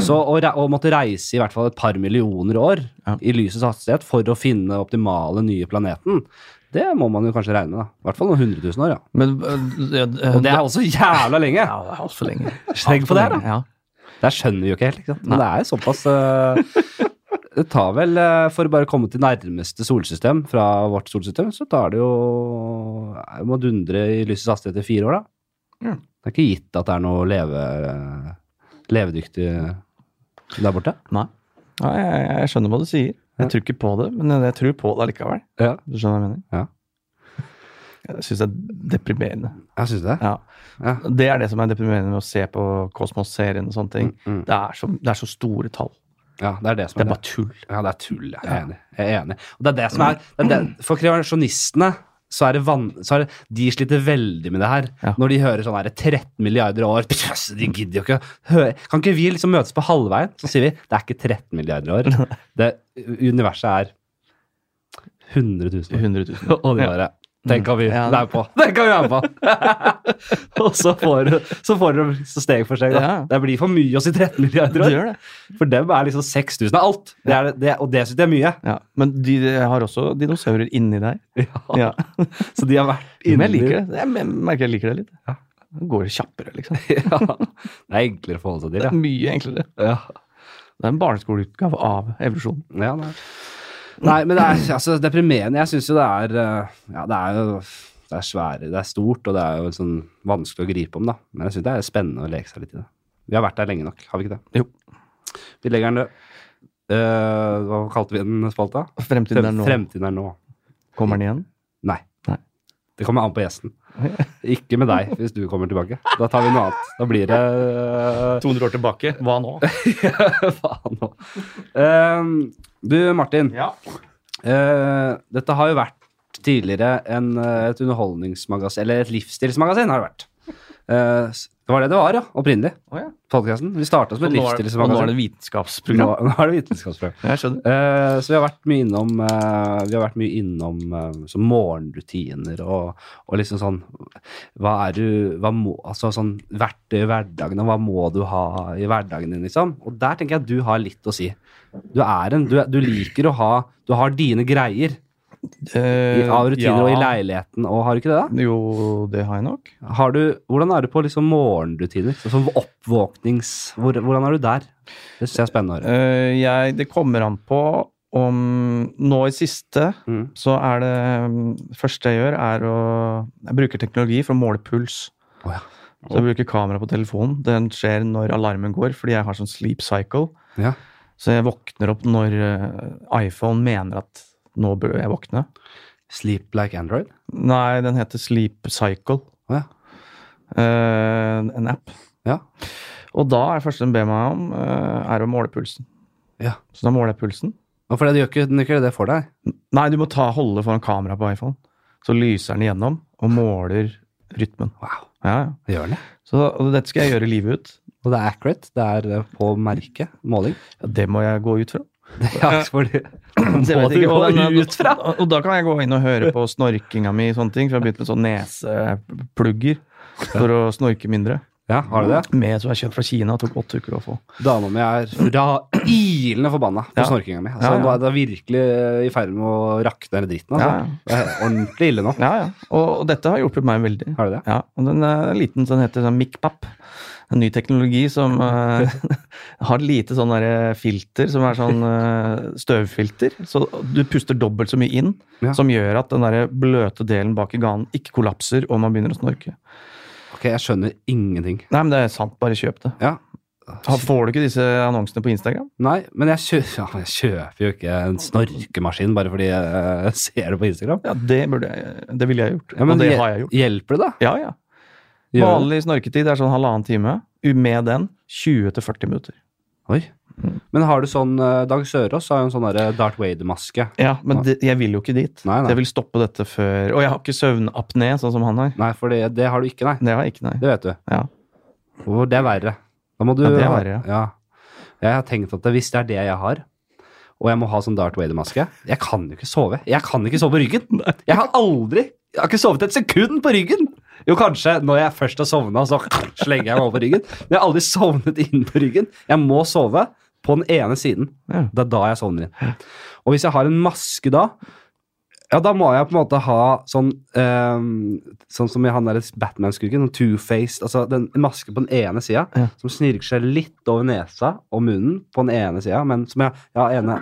S1: Så å, re å måtte reise i hvert fall et par millioner år
S2: Ja.
S1: i lysets hastighet for å finne optimale nye planeten, det må man jo kanskje regne med. da. I hvert fall noen hundre tusen år, ja.
S2: Men øh, Eh,
S1: Og det er også jævla lenge!
S2: ja, det er altfor lenge.
S1: Tenk på det, da.
S2: Ja.
S1: Der skjønner vi jo ikke helt, ikke sant? men det er jo såpass eh, Det tar vel, eh, for å bare komme til nærmeste solsystem fra vårt solsystem, så tar det jo Jeg må dundre i lysets hastighet i fire år, da.
S2: Ja.
S1: Det er ikke gitt at det er noe leve, levedyktig eh, der borte.
S2: Nei. Nei jeg, jeg skjønner hva du sier.
S1: Ja.
S2: Jeg tror ikke på det, men jeg tror på det allikevel.
S1: Ja.
S2: Du skjønner hva jeg mener?
S1: Ja.
S2: Jeg syns det er deprimerende.
S1: Jeg syns det.
S2: Ja.
S1: Ja.
S2: Det er det som er deprimerende med å se på Kosmos-serien og sånne ting.
S1: Mm, mm.
S2: Det, er så, det er så store tall.
S1: Ja, det er det som
S2: Det
S1: er
S2: er
S1: det.
S2: bare tull.
S1: Ja, det er tull. Jeg
S2: Ja.
S1: er enig. Jeg er enig. Og det er det som er, det er det, For kreasjonistene så er det van, så er det, de sliter veldig med det her.
S2: Ja.
S1: Når de hører sånn her 13 milliarder år pss, De gidder jo ikke høre. Kan ikke vi liksom møtes på halvveien? Så sier vi det er ikke 13 milliarder år. Det universet er 100 000 år.
S2: 100 000.
S1: Og de bare Den kan vi
S2: Ja.
S1: være med på! Den kan vi være med på! og så får du så får du så steg for steg. Da.
S2: Ja.
S1: Det blir for mye å si 13 milliarder
S2: Det
S1: år.
S2: gjør det.
S1: For dem er liksom 6000 av alt. Det er, det, og det syns de er mye.
S2: Ja. Men de har også dinosaurer inni der.
S1: Ja.
S2: Ja.
S1: Så de har vært
S2: Men
S1: inni
S2: jeg liker det. Jeg merker jeg liker det litt.
S1: Ja.
S2: Det går kjappere, liksom.
S1: Ja. Det er enklere å forholde seg
S2: Det
S1: til,
S2: er mye enklere.
S1: ja.
S2: Det er en barneskoleutgave av evolusjon.
S1: ja. nei. nei, men det er altså, deprimerende. Jeg syns jo det er eh, Ja, det er jo det er svære, det er stort, og det er jo sånn vanskelig å gripe om, da. Men jeg syns det er spennende å leke seg litt i det. Vi har vært der lenge nok, har vi ikke det?
S2: Jo.
S1: Vi legger den død. Eh, hva kalte vi den spalta?
S2: Fremtiden er nå.
S1: Fremtiden er nå.
S2: Kommer den igjen?
S1: Nei.
S2: Nei.
S1: Det kommer an på gjesten. Ikke med deg, hvis du kommer tilbake. Da tar vi noe annet. Da blir det eh,
S2: 200 år tilbake. Hva nå?
S1: Faen nå. Ehm, du, Martin.
S2: Ja.
S1: eh, dette har jo vært tidligere en, eh, et underholdningsmagasin, eller et livsstilsmagasin har det vært. Eh, s- det var det det var, ja, opprinnelig.
S2: Å ja.
S1: Podcasten. Vi starta som
S2: Og
S1: et
S2: nå er, og nå er det
S1: livsstilsmagasin.
S2: vitenskapsprogram.
S1: Nå, nå er det vitenskapsprogram.
S2: Jeg skjønner.
S1: Eh, så vi har vært mye innom, eh, vi har vært mye innom eh, sånn morgenrutiner og, og liksom sånn Hva er du hva må, Altså sånn verktøy i hverdagen, og hva må du ha i hverdagen din, liksom? Og der tenker jeg at du har litt å si. Du er en Du, er- du liker å ha Du har dine greier i, av rutiner og i leiligheten, og har du ikke det, da?
S2: Eh, Jo, det har jeg nok.
S1: Har du, hvordan er du på liksom morgenrutiner? Sånn som oppvåknings... Hvor, hvordan er du der? Det syns jeg er spennende å høre.
S2: Eh, jeg, det kommer an på om Nå i siste
S1: Mm.
S2: så er det mm, første jeg gjør, er å Jeg bruker teknologi for å måle puls.
S1: Å ja.
S2: Så jeg bruker kamera på telefonen. Den skjer når alarmen går, fordi jeg har sånn sleep cycle.
S1: Ja.
S2: Så jeg våkner opp når eh, iPhone mener at nå bør jeg våkne.
S1: Sleep like Android?
S2: Nei, den heter Sleep Cycle.
S1: Å ja.
S2: Eh, en app.
S1: Ja.
S2: Og da er det første den ber meg om, eh, er å måle pulsen.
S1: Ja.
S2: Så da måler jeg pulsen.
S1: Og for det, du gjør ikke, den gjør ikke det for deg.
S2: Nei, du må ta, holde foran kamera på iPhone. Så lyser den igjennom og måler rytmen.
S1: Wow,
S2: Ja, ja.
S1: det gjør den, ja.
S2: Så og dette skal jeg gjøre livet ut.
S1: Og det er accurate. Det er eh, på merke. Måling.
S2: Ja, det må jeg gå ut fra.
S1: Ja, fordi,
S2: Så jeg
S1: Må
S2: vet
S1: du
S2: ikke, og,
S1: gå
S2: den,
S1: ut fra?
S2: og, og da kan jeg gå inn og høre på snorkinga mi, sånne ting, for jeg har begynt med sånn neseplugger for å snorke mindre.
S1: ja, har du det?
S2: Med som jeg kjøpte fra Kina, tok åtte uker å få.
S1: Dama mi er fra ilende forbanna på
S2: Ja.
S1: snorkinga mi. Altså,
S2: Ja, ja.
S1: Nå er det virkelig eh, i ferd med å rakne hele dritten.
S2: Ja,
S1: Altså. Det er ordentlig ille nå.
S2: ja. ja, ja. Og, og dette har hjulpet meg veldig.
S1: Har du det?
S2: Ja, og den er liten, den heter sånn MikPap. En ny teknologi som eh, har lite sånn derre filter, som er sånn eh, støvfilter. Så du puster dobbelt så mye inn,
S1: Ja.
S2: som gjør at den derre bløte delen bak i ganen ikke kollapser og man begynner å snorke.
S1: Ok, jeg skjønner ingenting.
S2: Nei, men det er sant, bare kjøp det.
S1: Ja.
S2: Ha- Får du ikke disse annonsene på Instagram?
S1: Nei, men jeg kjøper, ja, jeg kjøper jo ikke en snorkemaskin bare fordi jeg eh, ser det på Instagram.
S2: Ja, det burde jeg Det ville jeg gjort.
S1: Ja, men
S2: og det
S1: hjel-
S2: har jeg gjort.
S1: Hjelper det, da?
S2: Ja, ja.
S1: Gjør det?
S2: Vanlig snorketid er sånn halvannen time. U- Med den 20-40 minutter.
S1: Oi.
S2: Mm.
S1: Men har du sånn eh, Dag Sørås har jo en sånn derre Darth Vader-maske.
S2: Ja, men det, jeg vil jo ikke dit.
S1: Nei, nei.
S2: Så Jeg vil stoppe dette før Og jeg har ikke søvnapné, sånn som han har.
S1: Nei, for det, det har du ikke, nei.
S2: Det har jeg ikke, nei.
S1: Det vet du.
S2: Ja.
S1: Hvor det er verre. Da må du
S2: Ja, det er verre,
S1: ja. Jeg har tenkt at hvis det er det jeg har, og jeg må ha sånn Darth Vader-maske Jeg kan jo ikke sove. Jeg kan ikke sove på ryggen. Jeg har aldri Jeg har ikke sovet et sekund på ryggen. Jo, kanskje når jeg først har sovna, så slenger jeg meg over på ryggen. Men jeg har aldri sovnet inn på ryggen. Jeg må sove på den ene siden.
S2: Ja.
S1: Det er da jeg sovner inn. Og hvis jeg har en maske da, ja, da må jeg på en måte ha sånn ehm, Sånn som i han der Batman-skurken, sånn two-faced Altså den en maske på den ene sida
S2: Ja.
S1: som snirker seg litt over nesa og munnen på den ene sida, men som jeg, jeg har ene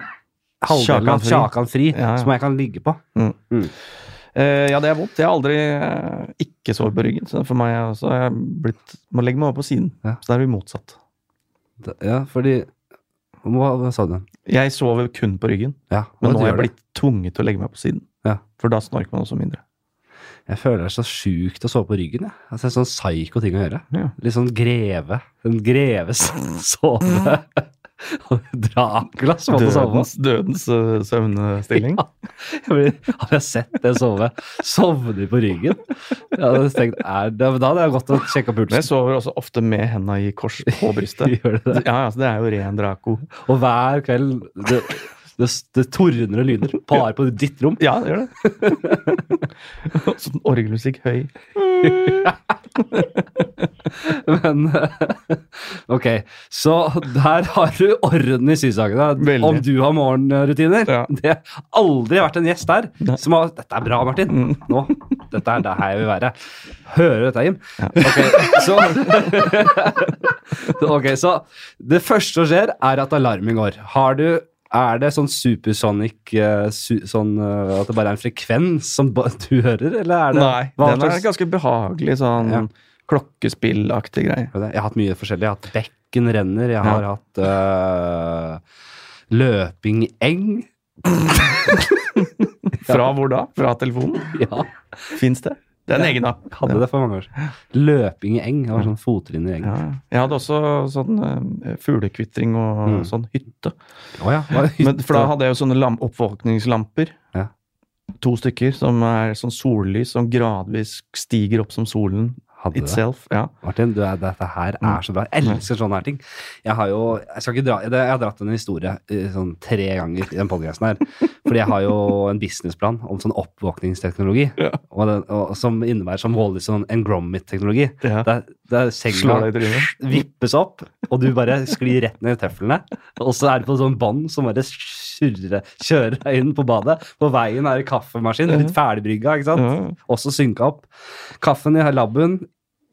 S1: halvdelen av
S2: Kjakan Fri.
S1: Kjakan Fri
S2: Ja, ja.
S1: som jeg kan ligge på.
S2: Eh, ja, det er vondt. Jeg har aldri eh, ikke sår på ryggen. Så for meg er også, jeg er blitt, må legge meg over på siden.
S1: Ja.
S2: Så da er vi motsatt.
S1: Da- Ja, fordi Hva hva sa du?
S2: Jeg sover kun på ryggen,
S1: Ja,
S2: men
S1: hva
S2: nå har jeg
S1: gjør du?
S2: blitt tvunget til å legge meg på siden.
S1: Ja.
S2: For da snorker man også mindre.
S1: Jeg føler det er så sjukt å sove på ryggen. Jeg. Altså, det er sånn psyko ting å gjøre.
S2: Ja.
S1: Litt sånn greve. En greve som sove. Dracula som måtte sove.
S2: Dødens, dødens eh, søvnstilling.
S1: Ja. Jeg blir- Har jeg sett det sove? Sovner på ryggen? Jeg hadde tenkt, er det, da hadde jeg gått og sjekka
S2: Men jeg
S1: pulsen.
S2: sover også ofte med henda i kors på brystet.
S1: Gjør det det?
S2: Ja, altså, det er jo ren Draco.
S1: Og hver kveld det, det, det tordner og lyner bare på ditt rom.
S2: Ja, det gjør det. Og sånn orgelmusikk høy.
S1: Men eh, ok, så der har du orden i sysakene.
S2: Veldig.
S1: Om du har morgenrutiner.
S2: Ja.
S1: Det har aldri vært en gjest der
S2: Nei.
S1: som har Dette er bra, Martin.
S2: Mm.
S1: Nå. Dette er der jeg vil være. Hører du dette, Jim?
S2: Ja.
S1: Ok, så Ok, så det første som skjer, er at alarmen går. Har du er det sånn supersonic eh, su, sånn, eh, At det bare er en frekvens som ba- du hører, eller er det
S2: Nei,
S1: hva
S2: den er
S1: slags-
S2: ganske behagelig sånn
S1: Ja.
S2: klokkespillaktig greie.
S1: Jeg har hatt mye forskjellig. Jeg har hatt bekken renner, jeg har hatt øh, løping i eng.
S2: Fra hvor da? Fra telefonen?
S1: Ja,
S2: Fins det? Det er en egen app.
S1: hadde det for mange år siden. Løping i eng. Det var sånn fottrinn i eng.
S2: Ja. Jeg hadde også sånn eh, fuglekvittring og
S1: Mm.
S2: sånn hytte.
S1: Å ja, var det hytte?
S2: Men, for da hadde jeg jo sånne lam oppvåkningslamper.
S1: Ja.
S2: To stykker som er sånn sollys som gradvis stiger opp som solen
S1: Hadde det.
S2: itself. Ja.
S1: Martin, du, er- dette her
S2: Mm.
S1: er så bra. Jeg elsker sånne her ting. Jeg har jo jeg skal ikke dra, det- jeg har dratt en historie eh, sånn tre ganger i den podkasten her. Fordi jeg har jo en businessplan om sånn oppvåkningsteknologi.
S2: Ja.
S1: Og den, og, som innebærer som Wallis sånn engrommet-teknologi.
S2: Ja.
S1: Det er, det er senga-
S2: Slår deg i trynet.
S1: vippes opp, og du bare sklir rett ned i tøflene. Og så er det på sånn bånd som bare surrer, kjører deg inn på badet. På veien er det kaffemaskin, litt ferdigbrygga, ikke sant.
S2: Ja.
S1: Også synka opp. Kaffen i labben,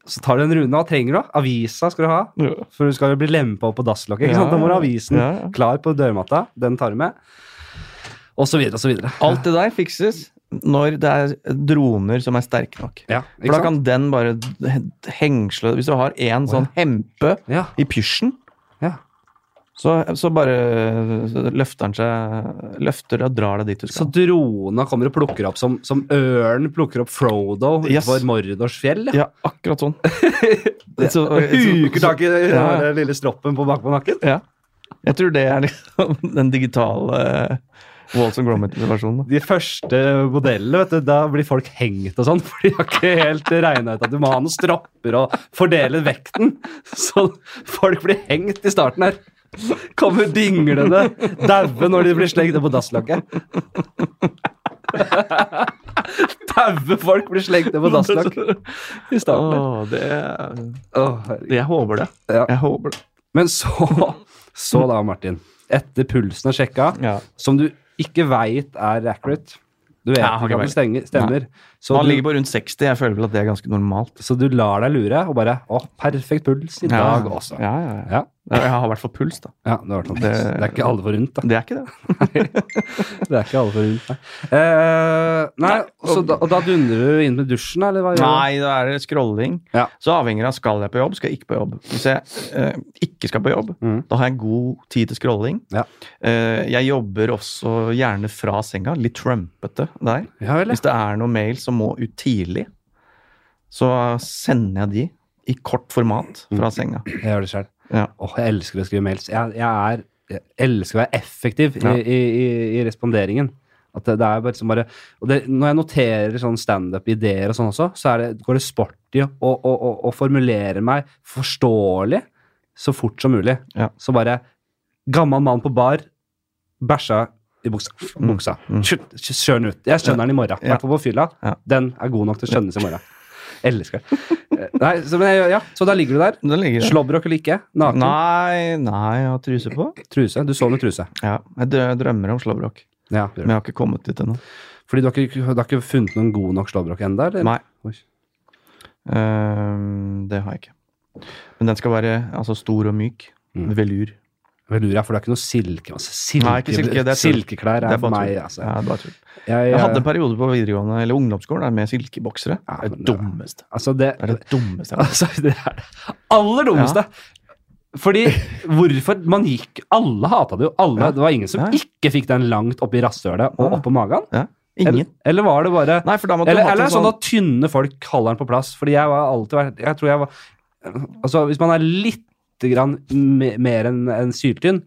S1: så tar du en runde. Hva trenger du? Avisa skal du ha,
S2: Ja.
S1: for du skal jo bli lempa opp på dasslokket. ikke sant? Da må du ha avisen
S2: Ja, ja.
S1: klar på dørmatta. Den tar du med. Og så videre og så videre.
S2: Alt det der fikses når det er droner som er sterke nok.
S1: Ja,
S2: For
S1: ikke
S2: da
S1: sant?
S2: kan den bare he- hengsle Hvis du har én sånn hempe
S1: Ja,
S2: i pysjen,
S1: ja.
S2: så, så bare løfter den seg Løfter og drar deg dit du
S1: Så
S2: skal.
S1: drona kommer og plukker opp som, som ørnen plukker opp Frodo
S2: Yes.
S1: utenfor Mordors fjell. ja.
S2: ja, akkurat sånn. Så,
S1: Huker tak i den
S2: Ja.
S1: der lille stroppen på bakpå nakken.
S2: Ja. Jeg tror det er liksom den digitale eh, Walls and Gromit-versjonen. da.
S1: De første modellene, vet du, da blir folk hengt og sånn, for de har ikke helt regna ut at du må ha noen stropper og fordele vekten. Så folk blir hengt i starten her. Kommer dinglende, daue når de blir slengt ned på dasslokket. Daue folk blir slengt ned på dasslokk i starten. her.
S2: Åh, det er-
S1: Åh, herregud.
S2: Jeg håper det.
S1: Ja.
S2: Jeg håper det.
S1: Men så, så da, Martin. Etter pulsen er sjekka,
S2: Ja.
S1: som du ikke veit er accurate. Du vet
S2: Jeg har
S1: ikke
S2: ikke
S1: om det stenger, stemmer. Så
S2: Man
S1: du,
S2: ligger på rundt 60. Jeg føler vel at det er ganske normalt.
S1: så du lar deg lure og bare Å, perfekt puls i dag også.
S2: Ja, ja, ja.
S1: Ja.
S2: Jeg har i hvert fall puls, da.
S1: Ja, det, har vært sånn. det,
S2: Det-
S1: er ikke alle forunt, da.
S2: Det er ikke det.
S1: Det er ikke alle forunt, nei. Eh, nei så da, og da dundrer du inn med dusjen, eller hva gjør du?
S2: Nei, da er det scrolling.
S1: Ja.
S2: Så avhenger det av skal jeg på jobb, skal jeg ikke på jobb. Hvis jeg eh, ikke skal på jobb,
S1: Mm.
S2: da har jeg god tid til scrolling.
S1: Ja.
S2: Eh, jeg jobber også gjerne fra senga. Litt trumpete der.
S1: Ja vel, ja.
S2: Hvis det er noen mail som må ut tidlig, så sender jeg de i kort format
S1: Mm.
S2: fra senga.
S1: jeg gjør det sjøl.
S2: Ja.
S1: Åh, jeg elsker å skrive mails. Jeg, jeg, er, jeg elsker å være effektiv i,
S2: Ja.
S1: i, i, i responderingen. At det, det er bare liksom bare og det, Når jeg noterer sånn standup-ideer og sånn også, så er det, går det sport i å, å, å, å formulere meg forståelig så fort som mulig.
S2: Ja.
S1: Så bare Gammel mann på bar, bæsja i buksa. buksa.
S2: Mm.
S1: Skjønn- Skjønn ut. Jeg skjønner den i morgen. I
S2: Ja.
S1: hvert fall på fylla.
S2: Ja.
S1: Den er god nok til å skjønnes i morgen. Elsker det. Eh, Nei, så, men, jeg- ja, så da ligger du der.
S2: Den ligger der.
S1: Slåbrok eller ikke? Naken?
S2: Nei, nei, jeg har truse på.
S1: Truse? Du sov med truse.
S2: Ja, jeg drø- drømmer om slåbrok,
S1: Ja.
S2: men jeg har ikke kommet dit ennå.
S1: Fordi du har, ikke, du har ikke funnet noen god nok slåbrok ennå?
S2: Nei.
S1: Oi.
S2: Ehm, det har jeg ikke. Men den skal være altså, stor og myk.
S1: Mm.
S2: Velur.
S1: Velura, for det er ikke noe silke. Altså, silke
S2: Nei, ikke silke, det er tull.
S1: silkeklær
S2: Det er
S1: er
S2: bare
S1: for meg,
S2: tull.
S1: altså.
S2: Ja, det var tull.
S1: Jeg, eh,
S2: Jeg hadde en periode på videregående eller ungdomsskolen der, med silkeboksere.
S1: Ja,
S2: Det er det
S1: men det-
S2: dummeste.
S1: altså, det,
S2: Det er det dummeste jeg har hørt.
S1: altså, det er det aller dummeste. Fordi hvorfor Man gikk Alle hata det jo. Alle,
S2: Ja.
S1: Det var ingen som
S2: Ja.
S1: ikke fikk den langt opp i rasshølet og
S2: Ja.
S1: oppå magen.
S2: Ingen.
S1: Eller, eller var det bare
S2: Nei, for da måtte
S1: Eller,
S2: du
S1: eller er
S2: hatt
S1: det
S2: en
S1: sånn at tynne folk holder den på plass? Fordi jeg har alltid vært Jeg tror jeg var Altså, hvis man er litt grann me- mer enn enn syltynn,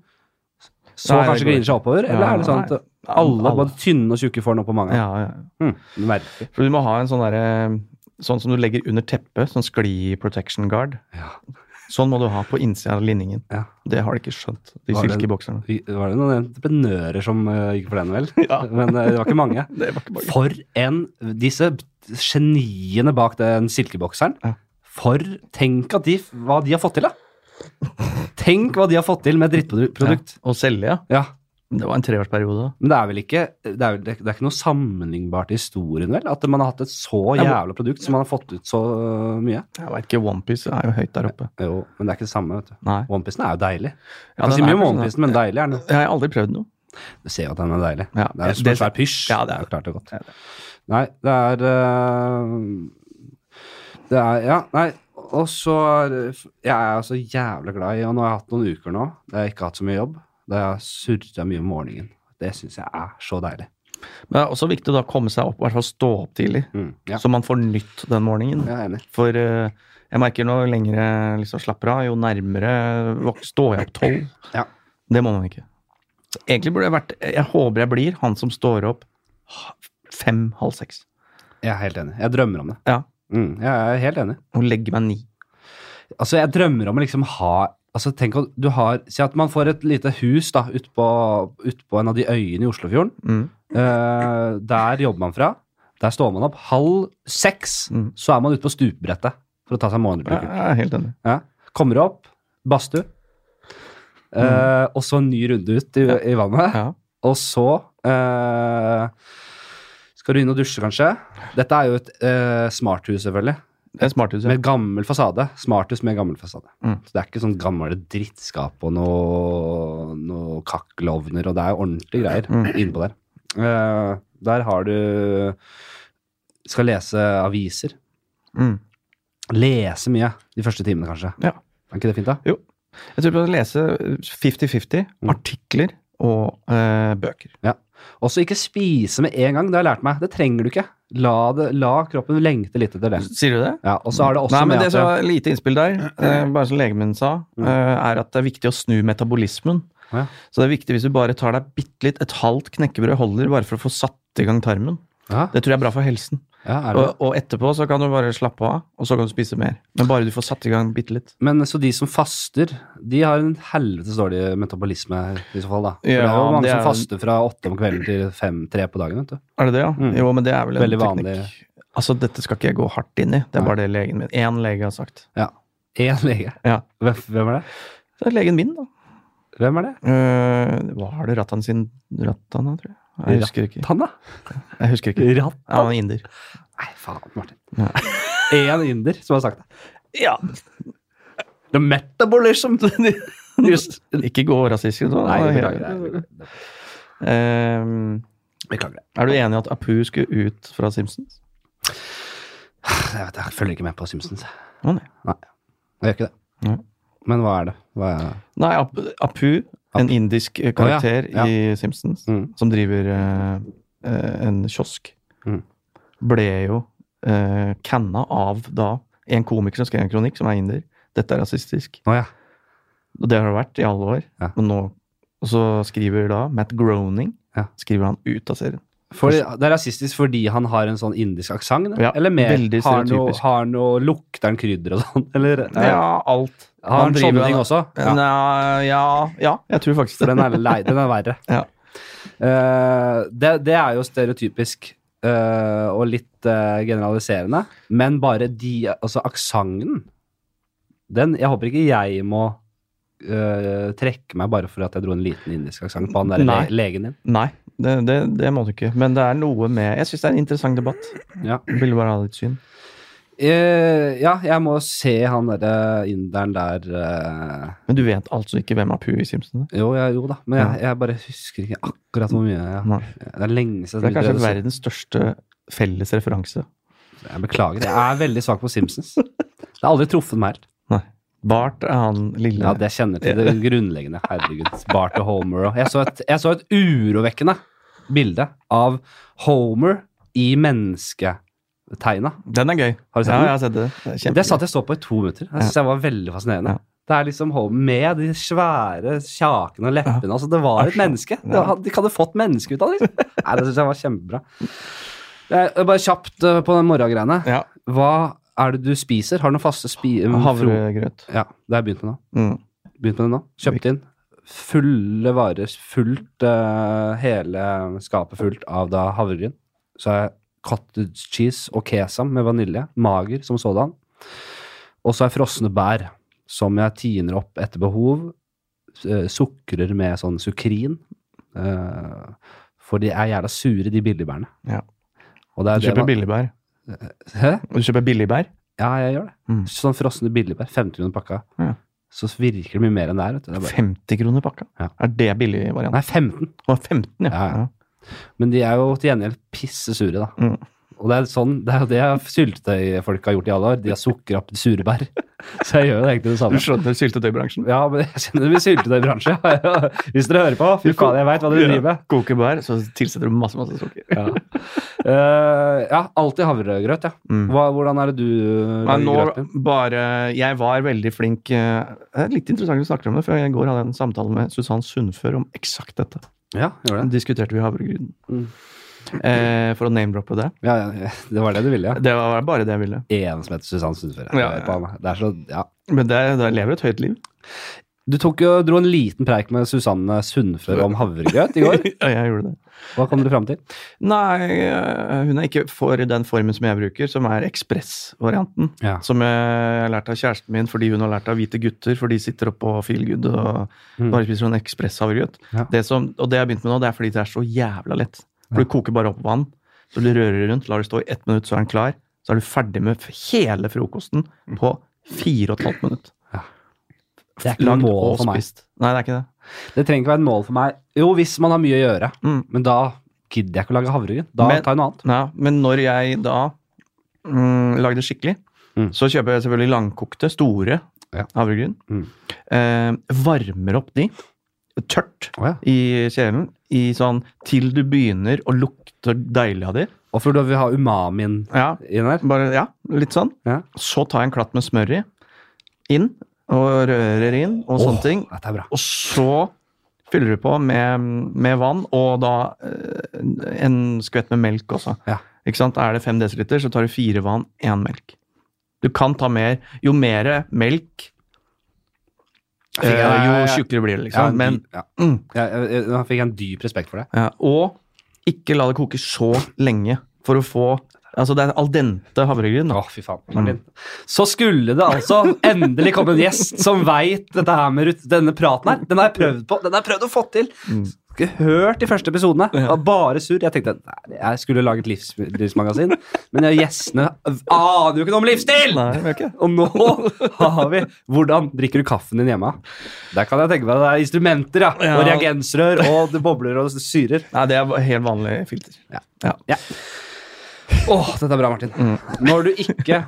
S1: så
S2: Nei, det
S1: kanskje
S2: går
S1: griner seg oppover? Eller
S2: Ja,
S1: er det sånn at
S2: nei.
S1: alle, både tynne og tjukke, får den opp på mange?
S2: Ja, ja.
S1: Hmm, merkelig.
S2: For du må ha en sånn derre Sånn som du legger under teppet, sånn skli protection guard.
S1: Ja.
S2: Sånn må du ha på innsida av linningen.
S1: Ja.
S2: Det har de ikke skjønt, de
S1: Var det-
S2: silkebokserne.
S1: Vi- Var det noen entreprenører som eh, gikk for den, vel?
S2: Ja.
S1: Men eh, det var ikke mange.
S2: Det var ikke bare
S1: For en Disse geniene bak den silkebokseren.
S2: Ja.
S1: For Tenk at de, hva de har fått til, da! Tenk hva de har fått til med drittprodukt.
S2: Ja. Å selge, ja.
S1: Ja.
S2: Det var en treårsperiode. da.
S1: Men det er vel ikke det er, vel- det er ikke noe sammenlignbart i historien, vel? At man har hatt et så
S2: Ja, men-
S1: jævla produkt som man har fått ut så øh, mye.
S2: Jeg veit ikke, OnePiece er jo høyt der oppe.
S1: Jo, men det er ikke det samme, vet du.
S2: Nei.
S1: Onepiecen er jo deilig. Jeg
S2: Ja,
S1: kan
S2: den
S1: si
S2: er
S1: mye om
S2: kanskje
S1: onepiecen, men deilig er den.
S2: Jeg har aldri prøvd noe.
S1: Du ser jo at den er deilig.
S2: Ja,
S1: Det er jo
S2: det-
S1: som en svær pysj.
S2: Ja, det er
S1: klart det er godt.
S2: det er
S1: Nei, det er øh, Det er Ja, nei. Og så er Jeg er altså jævla glad i Og nå har jeg hatt noen uker nå der jeg ikke har hatt så mye jobb. Der jeg har surra mye om morgenen. Det syns jeg er så deilig.
S2: Men det er også viktig å da komme seg opp, i hvert fall stå opp tidlig,
S1: Mm, ja,
S2: så man får nytt den morgenen.
S1: jeg er enig.
S2: For eh, jeg merker nå lenger jeg liksom slapper av, jo nærmere våk- står jeg opp tolv.
S1: Ja.
S2: Det må man ikke. Egentlig burde jeg vært Jeg håper jeg blir han som står opp ha- fem-halv seks.
S1: Jeg er helt enig. Jeg drømmer om det.
S2: Ja.
S1: Mm, jeg er helt enig.
S2: Og legger meg ni.
S1: Altså, jeg drømmer om å liksom ha Altså, tenk at du har Si at man får et lite hus da, utpå ut på en av de øyene i Oslofjorden.
S2: Mm.
S1: Eh, der jobber man fra. Der står man opp halv seks.
S2: Mm.
S1: Så er man ute på stupbrettet for å ta seg
S2: Jeg
S1: morgenbruker.
S2: er helt enig.
S1: Ja. Kommer opp, badstue, eh, og så en ny runde ut i, i vannet.
S2: Ja.
S1: Og så eh, skal du inn og dusje, kanskje. Dette er jo et eh, smarthus, selvfølgelig.
S2: Det er smarthus. Ja.
S1: Med gammel fasade. Smarthus med gammel fasade.
S2: Mm.
S1: Så Det er ikke sånn gamle drittskap og noe, noe kakkelovner, og det er ordentlige greier
S2: Mm.
S1: innpå der. Eh, der har du Skal lese aviser.
S2: Mm.
S1: Lese mye de første timene, kanskje.
S2: Ja.
S1: Er ikke det fint, da?
S2: Jeg tror på å lese 50-50
S1: Mm.
S2: artikler og eh, bøker.
S1: Også ikke spise med en gang. Det har jeg lært meg. Det trenger du ikke. La, det, la kroppen lengte litt etter det.
S2: Sier du det?
S1: Ja, og så har det også
S2: Nei, men
S1: med
S2: det som var lite innspill der, eh, bare som legen min sa,
S1: Mm.
S2: eh, er at det er viktig å snu metabolismen.
S1: Ja.
S2: Så det er viktig hvis du bare tar deg bitte litt, et halvt knekkebrød holder, bare for å få satt i gang tarmen.
S1: ja,
S2: Det tror jeg er bra for helsen.
S1: ja, er det.
S2: Og, og etterpå så kan du bare slappe av, og så kan du spise mer. Men bare du får satt i gang bitte litt.
S1: Men så de som faster, de har en helvetes dårlig metabolisme her, i så fall, da. For det
S2: Ja,
S1: er jo mange
S2: det er-
S1: som faster fra åtte om kvelden til fem, tre på dagen, vet du.
S2: Er det det, ja?
S1: Mm.
S2: Jo, men det er vel en
S1: Veldig vanlig.
S2: teknikk. Altså, dette skal ikke jeg gå hardt inn i. Det er
S1: Nei.
S2: bare det legen min. Én lege har sagt.
S1: Én lege.
S2: Ja.
S1: Hvem, hvem er det?
S2: Så det er legen min, da.
S1: Hvem er det?
S2: Eh, var det Rattan sin Rattan, da, tror jeg? Jeg husker ikke.
S1: Tanna?
S2: Jeg husker ikke.
S1: Ratt?
S2: Ja, han er inder.
S1: Nei, faen, Martin.
S2: Ja.
S1: Én inder som har sagt det.
S2: Ja,
S1: The metabolism! Just.
S2: Ikke gå rasistisk nå.
S1: Nei,
S2: da.
S1: beklager det.
S2: Ehm,
S1: Beklager det.
S2: er du enig i at Apu skulle ut fra Simpsons?
S1: Jeg, vet, jeg følger ikke med på Simpsons.
S2: Å, nei.
S1: Jeg gjør ikke det.
S2: Nei.
S1: Men hva er det? Hva er
S2: Nei, Ap- Apu, en indisk eh, karakter
S1: Å, ja.
S2: i Simpsons,
S1: Mm.
S2: som driver eh, eh, en kiosk,
S1: Mm.
S2: ble jo uh, canna av da en komiker som skrev en kronikk, som er inder. Dette er rasistisk.
S1: Å ja.
S2: Og det har det vært i alle år.
S1: Ja.
S2: Men nå, og så skriver da Matt Groening
S1: Ja.
S2: skriver han ut av serien.
S1: Fordi, det er rasistisk fordi han har en sånn indisk aksent?
S2: Altså- Ja,
S1: eller mer
S2: veldig
S1: har noe,
S2: stereotypisk.
S1: har noe Lukter han krydder og sånn? Eller
S2: Ja, alt.
S1: har han
S2: driver-
S1: sånne ting også?
S2: Ja.
S1: Ja,
S2: ja, ja, jeg tror faktisk
S1: for
S2: det.
S1: den er, lei, den er verre.
S2: Ja.
S1: Eh, det, det er jo stereotypisk eh, og litt eh, generaliserende, men bare de Altså aksenten Den Jeg håper ikke jeg må eh, trekke meg bare for at jeg dro en liten indisk aksent på han der
S2: Nei.
S1: le, legen din.
S2: Nei, det, det, det må du ikke. Men det er noe med Jeg syns det er en interessant debatt.
S1: Ja.
S2: Jeg Ville bare ha ditt syn.
S1: eh, ja, jeg må se han derre inderen der eh,
S2: Men du vet altså ikke hvem Apu i Simpsons er?
S1: Jo, ja, jo da, men jeg, jeg bare husker ikke akkurat hvor mye. Ja.
S2: Nei.
S1: Det er lenge
S2: Det
S1: siden
S2: er kanskje
S1: jeg så-
S2: verdens største felles referanse.
S1: Jeg beklager, jeg er veldig svak på Simpsons. Det har aldri truffet meg helt.
S2: Nei. Bart er han lille
S1: Ja, det kjenner jeg til det grunnleggende. Herregud. Bart og Homer og jeg så, et, jeg så et urovekkende bilde av Homer i mennesketegna.
S2: Den er gøy.
S1: Har du sett
S2: ja,
S1: den?
S2: jeg har sett det. det er
S1: Det
S2: kjempegøy.
S1: satt jeg så på i to minutter. Jeg synes jeg var veldig fascinerende.
S2: Ja.
S1: Det er liksom Homer med de svære kjakene og leppene. Altså, det var et
S2: Asj.
S1: menneske. Det var, de hadde fått menneske ut av det. Liksom. Nei, det syns jeg var kjempebra. Jeg, bare kjapt eh, på den morgengreiene.
S2: Ja.
S1: Hva er det du spiser? Har du noen faste spi... fro-
S2: Havregrøt.
S1: Ja, det har jeg begynt med nå.
S2: Mm.
S1: Begynt med det nå. Kjøpt inn. Fulle varer. Fullt eh, Hele skapet fullt av da havregryn. Så har jeg cottage cheese og kesam med vanilje. Mager som sådan. Og så har jeg frosne bær, som jeg tiner opp etter behov. eh, Sukrer med sånn sukrin. eh, For de er jævla sure, de billigbærene.
S2: Ja.
S1: Og det er
S2: Du
S1: det
S2: kjøper
S1: man...
S2: billigbær.
S1: Hæ?
S2: Du kjøper billigbær?
S1: Ja, jeg gjør det.
S2: Mm.
S1: Sånn frosne billigbær, 50 kroner pakka,
S2: Ja.
S1: så virker det mye mer enn det er. Vet du. Det er bare,
S2: 50 kroner pakka?
S1: Ja.
S2: Er det billig variant?
S1: nei, 15.
S2: Å, 15, ja.
S1: Ja, ja. Men de er jo til gjengjeld pisse sure, da.
S2: Mm.
S1: Og det er sånn, det er jo det syltetøyfolk har gjort i alle år. De har sukra opp sure bær. Så jeg gjør jo egentlig det
S2: Du
S1: samme.
S2: skjønner syltetøybransjen?
S1: Ja, men jeg kjenner det med syltetøybransje. Hvis dere hører på, fy faen, jeg veit hva dere driver med.
S2: Koker bær, så tilsetter du masse, masse sukker.
S1: Ja, Eh, ja alltid havregrøt, ja.
S2: Mm.
S1: Hva, hvordan er det du
S2: Nei,
S1: lager
S2: nå
S1: grøten?
S2: bare Jeg var veldig flink eh, Det er litt interessant du snakker om det, for jeg i går hadde en samtale med Susann Sundfør om eksakt dette.
S1: Ja, gjør det.
S2: Diskuterte vi havregrynen.
S1: Mm.
S2: Eh, for å name-droppe det.
S1: Ja, ja, det var det du ville, ja.
S2: Det var bare det jeg ville.
S1: En som heter Susann Sundfør.
S2: Ja, ja, ja.
S1: Det er så, ja.
S2: Men det, det lever et høyt liv.
S1: Du tok jo, dro en liten preik med Susanne Sundfør om havregrøt i går.
S2: Ja, jeg gjorde det.
S1: Hva kom dere fram til?
S2: Nei, eh, hun er ikke for den formen som jeg bruker, som er ekspressvarianten.
S1: Ja.
S2: Som jeg har lært av kjæresten min fordi hun har lært av hvite gutter, for de sitter oppå feel good og
S1: Mm.
S2: bare spiser sånn ekspresshavregrøt.
S1: Ja.
S2: Det som- Og det jeg har begynt med nå, det er fordi det er så jævla lett. For Du koker bare opp vann, så du rører rundt, lar det stå i ett minutt, så er den klar. Så er du ferdig med hele frokosten på fire og et halvt minutt.
S1: Det er ikke noe mål
S2: og
S1: for meg.
S2: spist. Nei, det er ikke det.
S1: Det trenger ikke være et mål for meg. Jo, hvis man har mye å gjøre.
S2: Mm.
S1: Men da gidder jeg ikke å lage havregryn. Da
S2: Men-
S1: tar jeg noe annet.
S2: Ja, men når jeg da mm, lager det skikkelig,
S1: Mm.
S2: så kjøper jeg selvfølgelig langkokte, store
S1: Ja.
S2: havregryn.
S1: Mm.
S2: Eh, varmer opp de tørt
S1: Oh, ja.
S2: i kjelen i sånn, til du begynner å lukte deilig av de.
S1: Og for da vil vi ha umamien
S2: Ja,
S1: inn her.
S2: bare, ja, litt sånn.
S1: Ja.
S2: Så tar jeg en klatt med smør i, inn, og rører inn, og
S1: Åh,
S2: sånne ting.
S1: Dette er bra.
S2: Og så fyller du på med, med vann, og da eh, en skvett med melk også.
S1: Ja.
S2: Ikke sant? Er det 5 dl, så tar du fire vann, én melk. Du kan ta mer. Jo mer melk,
S1: Fikk jeg-
S2: eh, jo tjukkere blir det,
S1: Ja,
S2: liksom. Men,
S1: ja.
S2: mm,
S1: Jeg, jeg, jeg, nå fikk jeg en dyp respekt for det.
S2: ja. Og ikke la det koke så lenge for å få Altså, det er al dente havregryn. da.
S1: Å, fy faen. Martin.
S2: Mm.
S1: Så skulle det altså endelig komme en gjest som veit dette her med rut- denne praten her. Den har jeg prøvd på. Den har jeg prøvd å få til.
S2: Mm.
S1: Ikke hørt de første episodene. Det var bare sur. Jeg tenkte nei, jeg skulle lage et livsstilsmagasin, men jeg- gjestene aner jo ikke noe om livsstil!
S2: Nei, det gjør ikke det.
S1: Og nå har vi Hvordan drikker du kaffen din hjemme? Der kan jeg tenke meg det er instrumenter, ja. Og
S2: Ja.
S1: reagensrør, og det bobler og syrer.
S2: Nei, det er helt vanlig filter.
S1: Ja.
S2: Ja.
S1: Åh, dette er bra, Martin. Når du ikke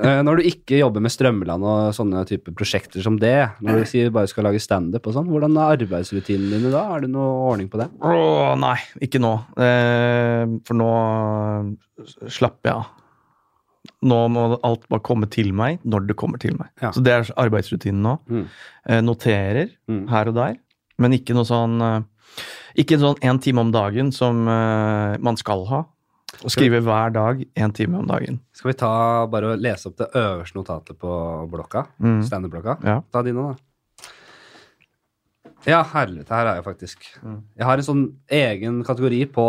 S1: eh, Når du ikke jobber med Strømland og sånne type prosjekter som det, når du sier bare skal lage standup og sånn, hvordan er arbeidsrutinene dine da? Er det noe ordning på det?
S2: Åh, nei, ikke nå. Eh, for nå eh, slapper jeg av. Nå må alt bare komme til meg når det kommer til meg.
S1: Ja.
S2: Så det er arbeidsrutinen nå.
S1: Mm.
S2: Eh, noterer
S1: Mm.
S2: her og der, men ikke noe sånn eh, Ikke en sånn én time om dagen som eh, man skal ha. Og skrive hver dag én time om dagen.
S1: Skal vi ta, bare lese opp det øverste notatet på blokka?
S2: Mm.
S1: Standup-blokka?
S2: Ja.
S1: Ta dine, da. Ja, helvete, her er jeg faktisk. Jeg har en sånn egen kategori på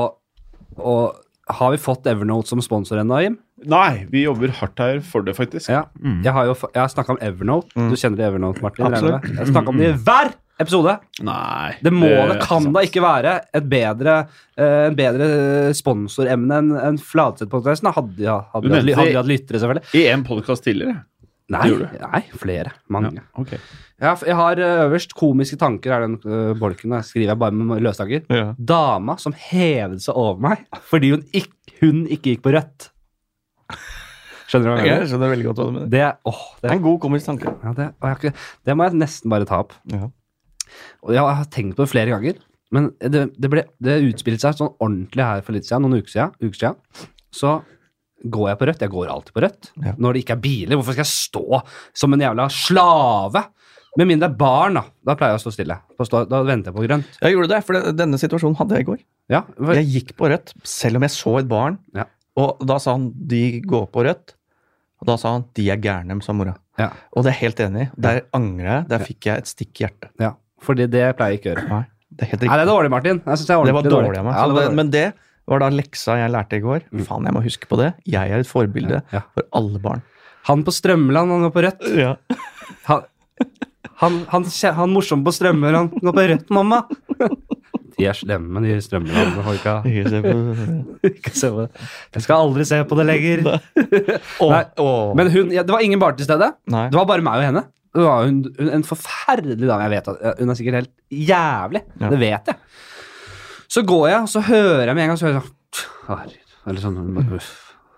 S1: og Har vi fått Evernote som sponsor ennå, Jim?
S3: Nei, vi jobber hardt her for det, faktisk.
S1: Ja. Jeg har jo fa- jeg har snakka om Evernote. Du kjenner til Evernote, Martin? regner jeg med.
S2: Absolutt.
S1: Jeg har snakka om det i hver episode.
S3: Nei
S1: Det må,
S3: er
S1: det kan
S3: sant.
S1: da ikke være et bedre, eh, en bedre sponsoremne enn en Fladseth-podkasten. Hadde vi hatt
S3: Du nevnte-
S1: hatt lyttere, selvfølgelig.
S3: I en podkast tidligere?
S1: Nei,
S3: gjorde
S1: nei, flere. Mange.
S3: ok.
S1: Ja, for jeg har eh, øverst 'Komiske tanker' er den eh, bolken. Der skriver jeg bare med løstaker.
S2: Ja.
S1: Dama som hevet seg over meg fordi hun ikke, hun ikke gikk på rødt. Skjønner du hva jeg
S2: Jeg
S1: mener?
S2: skjønner veldig godt hva du mener.
S1: Det, åh,
S2: Det
S1: det,
S2: er en god komisk tanke.
S1: ja, det, og jeg har ikke, det må jeg nesten bare ta opp.
S2: Ja.
S1: Og jeg har tenkt på det flere ganger, men det, det, ble, det utspilte seg sånn ordentlig her for litt siden, noen uker siden. Uker siden. Så går jeg på rødt. Jeg går alltid på rødt.
S2: Ja.
S1: Når det ikke er biler, hvorfor skal jeg stå som en jævla slave? Med mindre det er barn, da. Da pleier jeg å stå stille. Da, stå, da venter jeg på grønt.
S2: Jeg gjorde det, for det- denne situasjonen hadde jeg i går.
S1: Ja, for,
S2: Jeg gikk på rødt, selv om jeg så et barn.
S1: Ja.
S2: Og da sa han 'de går på rødt'. Og da sa han 'de er gærne', sa mora.
S1: Ja.
S2: Og det er jeg helt enig i. Der angrer jeg. Der fikk jeg et stikk i hjertet.
S1: ja, fordi det pleier jeg ikke å gjøre.
S2: Nei, det er helt
S1: Nei,
S2: riktig.
S1: det er dårlig, Martin. Jeg synes det er
S2: Det var
S1: ordentlig
S2: dårlig av meg.
S1: Ja,
S2: Så
S1: det var
S2: det,
S1: dårlig. Mm.
S2: men det var da leksa jeg lærte i går. Faen, jeg må huske på det. Jeg er et forbilde
S1: Ja.
S2: for alle barn.
S1: Han på Strømland, han går på rødt. Han, han, han, kje- han morsom på Strømmer, han går på rødt, mamma. De er slemme, de Strømmeland. Har ikke Ikke se på det. Jeg skal aldri se på det lenger. Nei. Men hun, ja, det var ingen barn til stede.
S2: Nei.
S1: Det var bare meg og henne. Det var hun, hun, en forferdelig dame. Jeg vet at ja, Hun er sikkert helt jævlig.
S2: Ja.
S1: Det vet jeg. Så går jeg, og så hører jeg med en gang så hører jeg sånn, «Tch, herregud», Eller sånn hun bare, uff.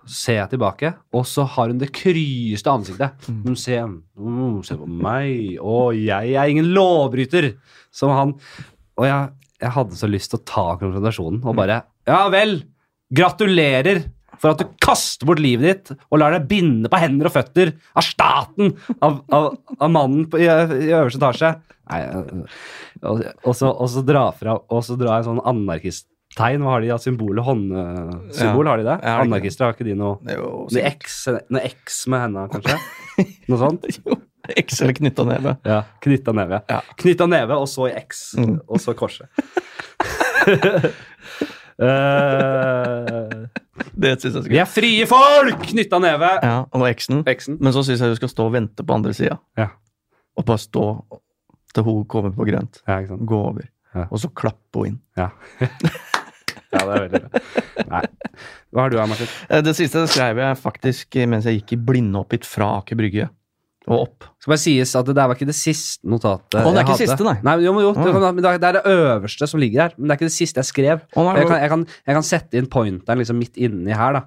S1: Så ser jeg tilbake, og så har hun det kryeste ansiktet. Hun ser, mm, ser på meg, og jeg er ingen lovbryter, som han. Og jeg, jeg hadde så lyst til å ta konfrontasjonen
S2: Mm.
S1: og bare Ja vel! Gratulerer for at du kaster bort livet ditt og lar deg binde på hender og føtter av staten, av, av, av mannen på, i, i øverste etasje. Nei, jeg- og, og, så, og så dra fra Og så dra en sånn anarkisttegn. Hva har de av symbolet? Håndsymbol, har de det?
S2: Ja, er det ikke det?
S1: Anarkister har ikke de noe
S2: Det er jo
S1: Noe X, noe X med henda, kanskje? Noe sånt?
S2: X eller knytta neve.
S1: Ja. Knytta neve.
S2: Ja.
S1: Knytta neve, og så i X,
S2: Mm.
S1: og så korset. Eh,
S2: Det syns jeg
S1: vi
S2: skal
S1: er frie folk! Knytta neve.
S2: Ja, og X-en.
S1: X-en.
S2: Men så syns jeg du skal stå og vente på andre sida.
S1: Ja.
S2: Og bare stå til hun kommer på grønt.
S1: Ja, ikke sant.
S2: Gå over.
S1: Ja.
S2: Og så klappe henne inn.
S1: Ja. ja, det er veldig bra. Nei. Hva har du her, Martin?
S2: Eh, Det siste skrev jeg faktisk mens jeg gikk i blinde opp hit fra Aker Brygge og opp.
S1: Skal bare sies at det der var ikke det siste notatet
S2: Å, det er
S1: jeg
S2: ikke
S1: hadde.
S2: siste, nei.
S1: men jo, men jo, det,
S2: Å.
S1: kan- men det er det øverste som ligger her, men det er ikke det siste jeg skrev.
S2: Å, nei,
S1: jeg, kan,
S2: hva-
S1: jeg, kan, jeg kan sette inn pointeren liksom midt inni her, da.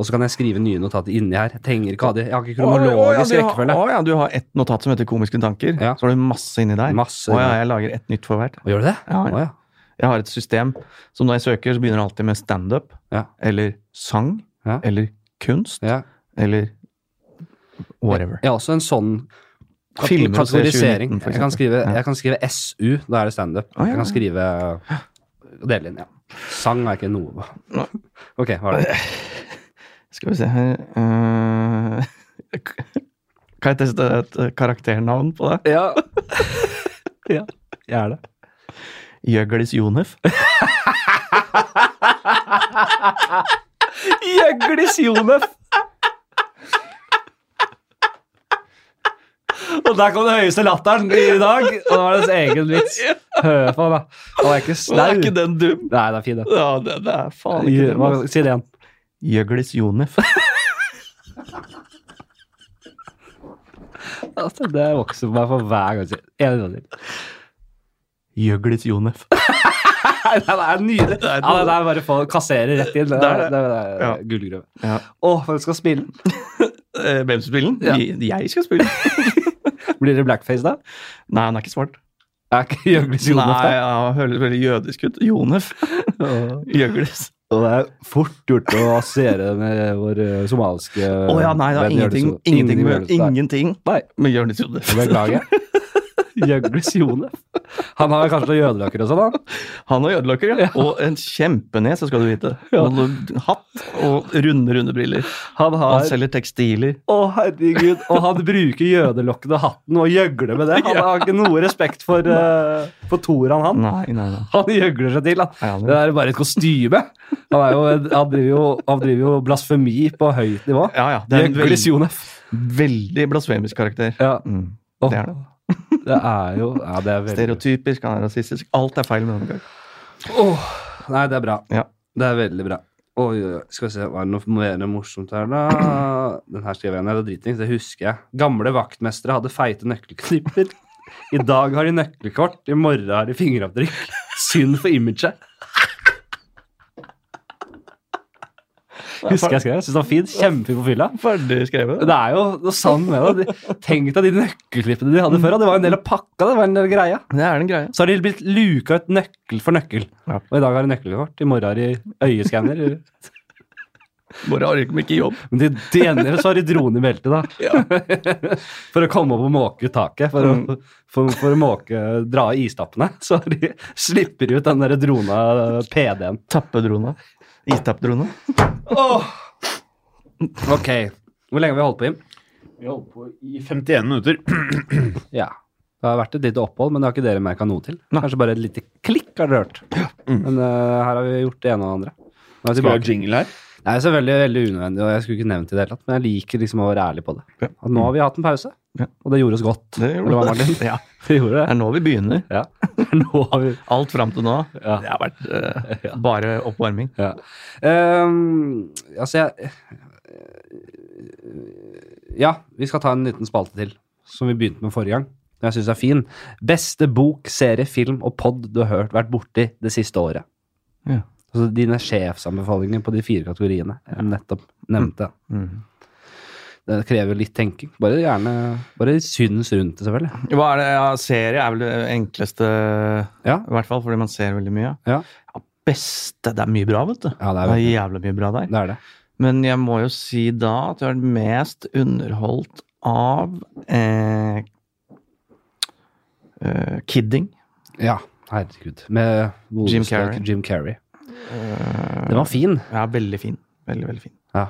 S1: Og så kan jeg skrive nye notater inni her. Jeg trenger ikke ha de. Jeg har ikke kronologisk
S2: du har,
S1: rekkefølge.
S2: å, ja, du har ett notat som heter Komiske tanker.
S1: Ja.
S2: Så har du masse inni der.
S1: Masse
S2: Å, ja,
S1: inni.
S2: jeg lager ett nytt for hvert.
S1: Og gjør du det?
S2: Ja, ja.
S1: Å, ja.
S2: Jeg har et system som når jeg søker, så begynner det alltid med standup
S1: Ja.
S2: eller sang
S1: Ja.
S2: eller kunst
S1: Ja.
S2: eller whatever.
S1: Jeg har også en sånn kat-
S2: Filmer og ser 2019,
S1: kategorisering.
S2: for
S1: Jeg kan,
S2: eksempel.
S1: skrive,
S2: Ja.
S1: jeg kan skrive SU, da er det standup.
S2: Å, ja,
S1: Jeg kan
S2: ja.
S1: skrive dele inn, ja. Sang er ikke noe
S2: Nei.
S1: Ok, hva er det?
S2: Skal vi se her eh, Kan jeg teste et eh, karakternavn på det?
S1: Ja. ja. Jeg er det.
S2: Gjøglis Jonef.
S1: Gjøglis Jonef! Og der kom den høyeste latteren i dag. Og det var dens egen vits. Hør på, da. Han er ikke
S2: Men
S1: snau.
S2: Er ikke
S1: Nei,
S2: den dum?
S1: det er fin, det.
S2: Ja, det, det er faen ikke dum.
S1: Hva-
S2: ass.
S1: Si det igjen.
S2: Gjøglis Jonef.
S1: Altså, det vokser på meg for hver gang. jeg sier- En gang til.
S2: Gjøglis Jonef.
S1: Nei, det er nydelig.
S2: Det er
S1: Ja, det er bare å få- kassere rett inn. Det
S2: Det er
S1: er,
S2: det.
S1: det er,
S2: Ja.
S1: gullgruve.
S2: Ja.
S1: Å, hvem skal spille den?
S2: Eh, Hvem skal spille den?
S1: Ja.
S2: Jeg- Jeg skal spille den.
S1: Blir det blackface, da?
S2: Nei, han er ikke svart.
S1: Er ikke Jørglis Jonef
S2: Nei,
S1: der?
S2: han høres veldig jødisk ut. Jonef. Gjøglis.
S1: Og det er fort gjort å assosiere det med vår eh, somaliske
S2: Å ja, nei, det har
S1: venn
S2: ingenting,
S1: Jørglis-
S2: ingenting, med,
S1: Jørglis- Nei.
S2: ingenting
S1: Nei.
S2: med Jonis Jonef.
S1: Beklager. Jørglis Jonef. Han har kanskje noen jødelokker og sånn, da?
S2: Han og jødelakker, ja. Og en kjempenes, skal du vite. Og hatt og runde, runde briller.
S1: Han
S2: Han
S1: har
S2: selger tekstiler.
S1: Å, herregud. Og han bruker jødelokken og hatten og gjøgler med det. Han har ikke noe respekt for, uh, for Toran, han.
S2: Nei, nei, nei.
S1: Han gjøgler seg til.
S2: Ja,
S1: Han.
S2: han-
S1: Det er bare et kostyme. Han, er jo, han, driver jo, han driver jo blasfemi på høyt nivå.
S2: Ja, ja. Det er en
S1: Gjøglis
S2: veldig,
S1: Jonef.
S2: veldig blasfemisk karakter.
S1: Ja.
S2: Mm.
S1: Åh.
S2: Det er det.
S1: Det er jo ja, det er veldig...
S2: Stereotypisk, han er rasistisk. Alt er feil med Noam Kagar.
S1: Åh, nei, det er bra.
S2: Ja.
S1: Det er veldig bra. Oi, oi, oi. skal vi se, Hva er det noe mer morsomt her, da? Den her skrev jeg ned. Det er dritings, det husker jeg. Gamle vaktmestere hadde feite nøkkelknipper. I dag har de nøkkelkort, i morgen har de fingeravtrykk. Synd for imaget. Husker jeg skrev det. Syns det var fint. Kjempefin på fylla.
S2: Ferdig skrevet.
S1: Det er jo noe sant med det. De- Tenk deg de nøkkelklippene de hadde før. da. Det var jo en del av pakka. det var en del greia.
S2: Det er den greia.
S1: Så har de blitt luka ut nøkkel for nøkkel.
S2: Ja.
S1: Og i dag har de nøkkelkort, i morgen har de øyeskanner.
S2: Bare orker ikke jobb.
S1: Men de tjener, så har de drone i beltet, da. For å komme opp og måke ut taket. For å, for, for å måke, dra i istappene. Så de slipper ut den der drona PD-en.
S2: Tappedrona. Istappdrona.
S1: Ok. Hvor lenge har vi holdt på, Jim?
S3: Vi holdt på i 51 minutter.
S1: Ja. Det har vært et lite opphold, men det har ikke dere merka noe til.
S2: Nei.
S1: Kanskje bare et lite klikk har dere hørt. Men eh, her har vi gjort det ene og det andre. Nå er vi
S3: Skal vi ha
S1: tilbake.
S3: jingle her?
S1: Det er selvfølgelig veldig unødvendig, og jeg skulle ikke nevnt det i det hele tatt, men jeg liker liksom å være ærlig på det.
S2: Ja.
S1: At nå har vi hatt en pause,
S2: Ja.
S1: og det gjorde oss godt.
S2: Det
S1: Eller hva,
S2: gjorde det.
S1: Martin?
S2: Ja.
S1: Vi gjorde
S2: Det
S1: det.
S2: er nå vi begynner.
S1: Ja. Nå har vi
S2: Alt fram til nå.
S1: Ja.
S2: Det har vært eh, bare oppvarming.
S1: ja. Ehm, altså, jeg eh, Ja, vi skal ta en liten spalte til, som vi begynte med forrige gang. som Jeg syns er fin. Beste bok, serie, film og pod du har hørt vært borti det siste året.
S2: Ja.
S1: Altså dine sjefsanbefalinger på de fire kategoriene jeg nettopp
S2: Mm.
S1: nevnte. Det krever litt tenking. Bare gjerne Bare syns rundt det, selvfølgelig.
S2: Hva er det, ja, Serie er vel det enkleste,
S1: Ja.
S2: i hvert fall fordi man ser veldig mye.
S1: Ja.
S2: Ja, beste Det er mye bra, vet du.
S1: Ja, det
S2: Det
S1: er
S2: er
S1: veldig-
S2: jævlig mye bra der.
S1: det. Er det.
S2: Men jeg må jo si da at jeg har vært mest underholdt av eh, eh, Kidding.
S1: Ja, herregud. Med godeste
S2: Jim Carrey.
S1: Jim Carrey.
S2: Eh,
S1: Den var fin.
S2: Ja, veldig fin. Veldig, veldig fin.
S1: Ja.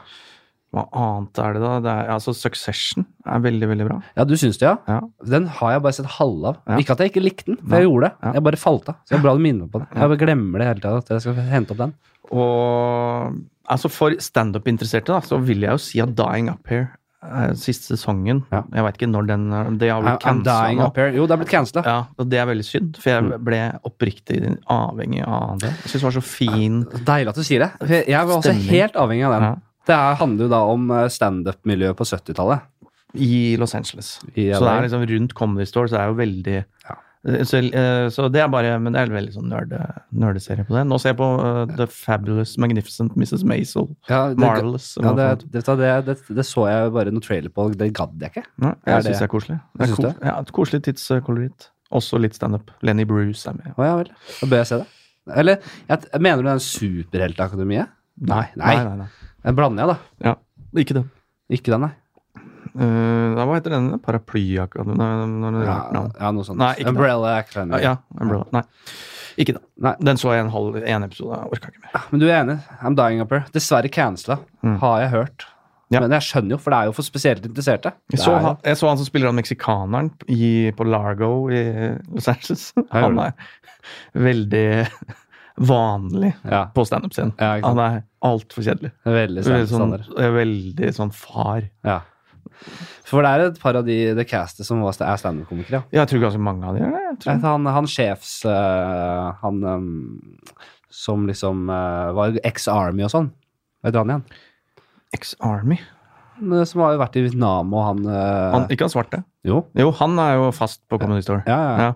S2: Hva annet er det, da? Det er, altså, Succession er veldig, veldig bra.
S1: Ja, du syns det, ja?
S2: Ja.
S1: Den har jeg bare sett halve av.
S2: Ja.
S1: Ikke at jeg ikke likte den, for
S2: Nei.
S1: jeg gjorde det.
S2: Ja.
S1: Jeg bare falt av. Så det er bra du minner meg på det. Jeg bare glemmer det hele tida at jeg skal hente opp den.
S2: Og altså for standup-interesserte, da, så vil jeg jo si at Dying Up Here, eh, siste sesongen
S1: Ja.
S2: Jeg veit ikke når den er Det har blitt
S1: I'm
S2: cansa
S1: dying
S2: nå.
S1: up here. Mm. Jo, det er blitt cancela.
S2: Ja, og det er veldig synd, for jeg ble oppriktig avhengig av det. Jeg syns det var så fin
S1: Deilig at du sier det. for Jeg jeg var også
S2: Stemning.
S1: helt avhengig av den.
S2: Ja.
S1: Det her handler jo da om eh, standup-miljøet på 70-tallet.
S2: i Los Angeles.
S1: I
S2: Så det
S1: LA.
S2: er liksom rundt Comedy Store, så det er jo veldig
S1: Ja.
S2: så, eh, så det er bare Men det er veldig sånn nerde, nerdeserie på det. Nå ser jeg på eh, The Fabulous Magnificent Mrs. Maisel.
S1: Ja, det,
S2: Marvelous.
S1: ja, det, det, det, det, det så jeg bare noen trailer på, det gadd jeg ikke.
S2: Nei,
S1: Er
S2: jeg
S1: det-
S2: syns det er koselig.
S1: Jeg
S2: Det er
S1: synes
S2: kos
S1: det.
S2: ja, et koselig tidskoloritt. Også litt standup. Lenny Bruce er med.
S1: Å ja vel. Da bør jeg se det. Eller jeg, t- mener du det er en superheltakademiet?
S2: Nei,
S1: nei.
S2: nei,
S1: Den blander jeg, da.
S2: Ja, ikke det.
S1: Ikke den, nei.
S2: Eh, hva heter den? Paraplyakademiet? Nei, nei, nei,
S1: Ja,
S2: rart navn.
S1: ja, noe sånt.
S2: Nei, ikke den.
S1: Umbrella
S2: Ja,
S1: Academy.
S2: ja, Umbrella. Nei, ikke det.
S1: Nei.
S2: Den så jeg en halv en episode. Jeg orka ikke mer.
S1: Men du er enig. I'm dying up here. Dessverre cancela, har jeg hørt.
S2: Mm. Ja.
S1: Men jeg skjønner jo, for det er jo for spesielt interesserte.
S2: Jeg
S1: Det
S2: så,
S1: er
S2: han, jeg så han som spiller han meksikaneren i, på Largo i Los Angeles.
S1: Ja, gjør
S2: Han er veldig vanlig
S1: jo- Ja,
S2: på standup-scenen.
S1: Ja, ikke sant.
S2: han er altfor kjedelig.
S1: veldig
S2: Veldig sånn,
S1: standard.
S2: veldig sånn far.
S1: Ja. For det er et par av de det castet som var, er standup-komikere. ja.
S2: Jeg tror ganske mange av de gjør det. Jeg tror.
S1: Han, han sjefs... øh, han øhm, som liksom øh, var ex-Army og sånn. Vet du han igjen?
S2: Ex-Army?
S1: Han, øh, Som har jo vært i Vietnam og han, øh,
S2: Han, ikke han svarte?
S1: Jo.
S2: Jo, han er jo fast på Comedy Store.
S1: Ja, ja. ja.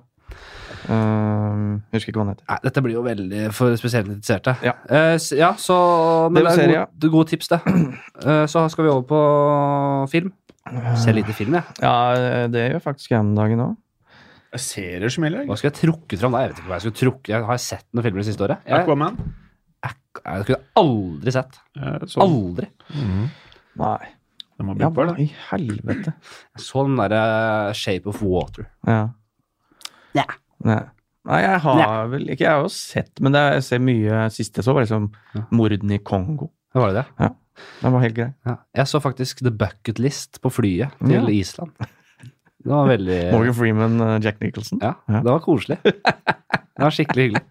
S2: Ehm, jeg husker ikke hva han heter.
S1: Nei, dette blir jo veldig for spesielt interesserte.
S2: Ja.
S1: Eh, s- ja så Men
S2: Det
S1: det
S2: var
S1: er
S2: serie,
S1: gode, gode tips, det. Eh, så skal vi over på film. Se lite film, jeg.
S2: Ja, det gjør faktisk jeg om dagen òg.
S3: Jeg ser det som gjelder.
S1: Hva skulle jeg trukket fram da? Jeg vet ikke hva jeg skulle trukket. Jeg har sett noen filmer det siste året. Jeg, jeg,
S3: Aquaman.
S1: jeg skulle aldri sett.
S3: Eh, Mm. Så,
S1: Aldri.
S2: Nei.
S3: den var
S2: Ja, hva
S3: brukbar, da.
S2: i helvete?
S1: Jeg så den derre Shape of Water.
S2: Ja.
S1: Ja.
S2: Nei. Nei, jeg har vel ikke Jeg har jo sett, men det, jeg ser mye Siste jeg så, var liksom mordene i Kongo.
S1: Var det det?
S2: Den var helt grei.
S1: Ja. Jeg så faktisk The Bucket List på flyet til
S2: Ja.
S1: Island. Det var veldig
S2: Morgan Freeman, eh, Jack Nicholson.
S1: Ja,
S2: Ja.
S1: det var koselig. Det var skikkelig hyggelig.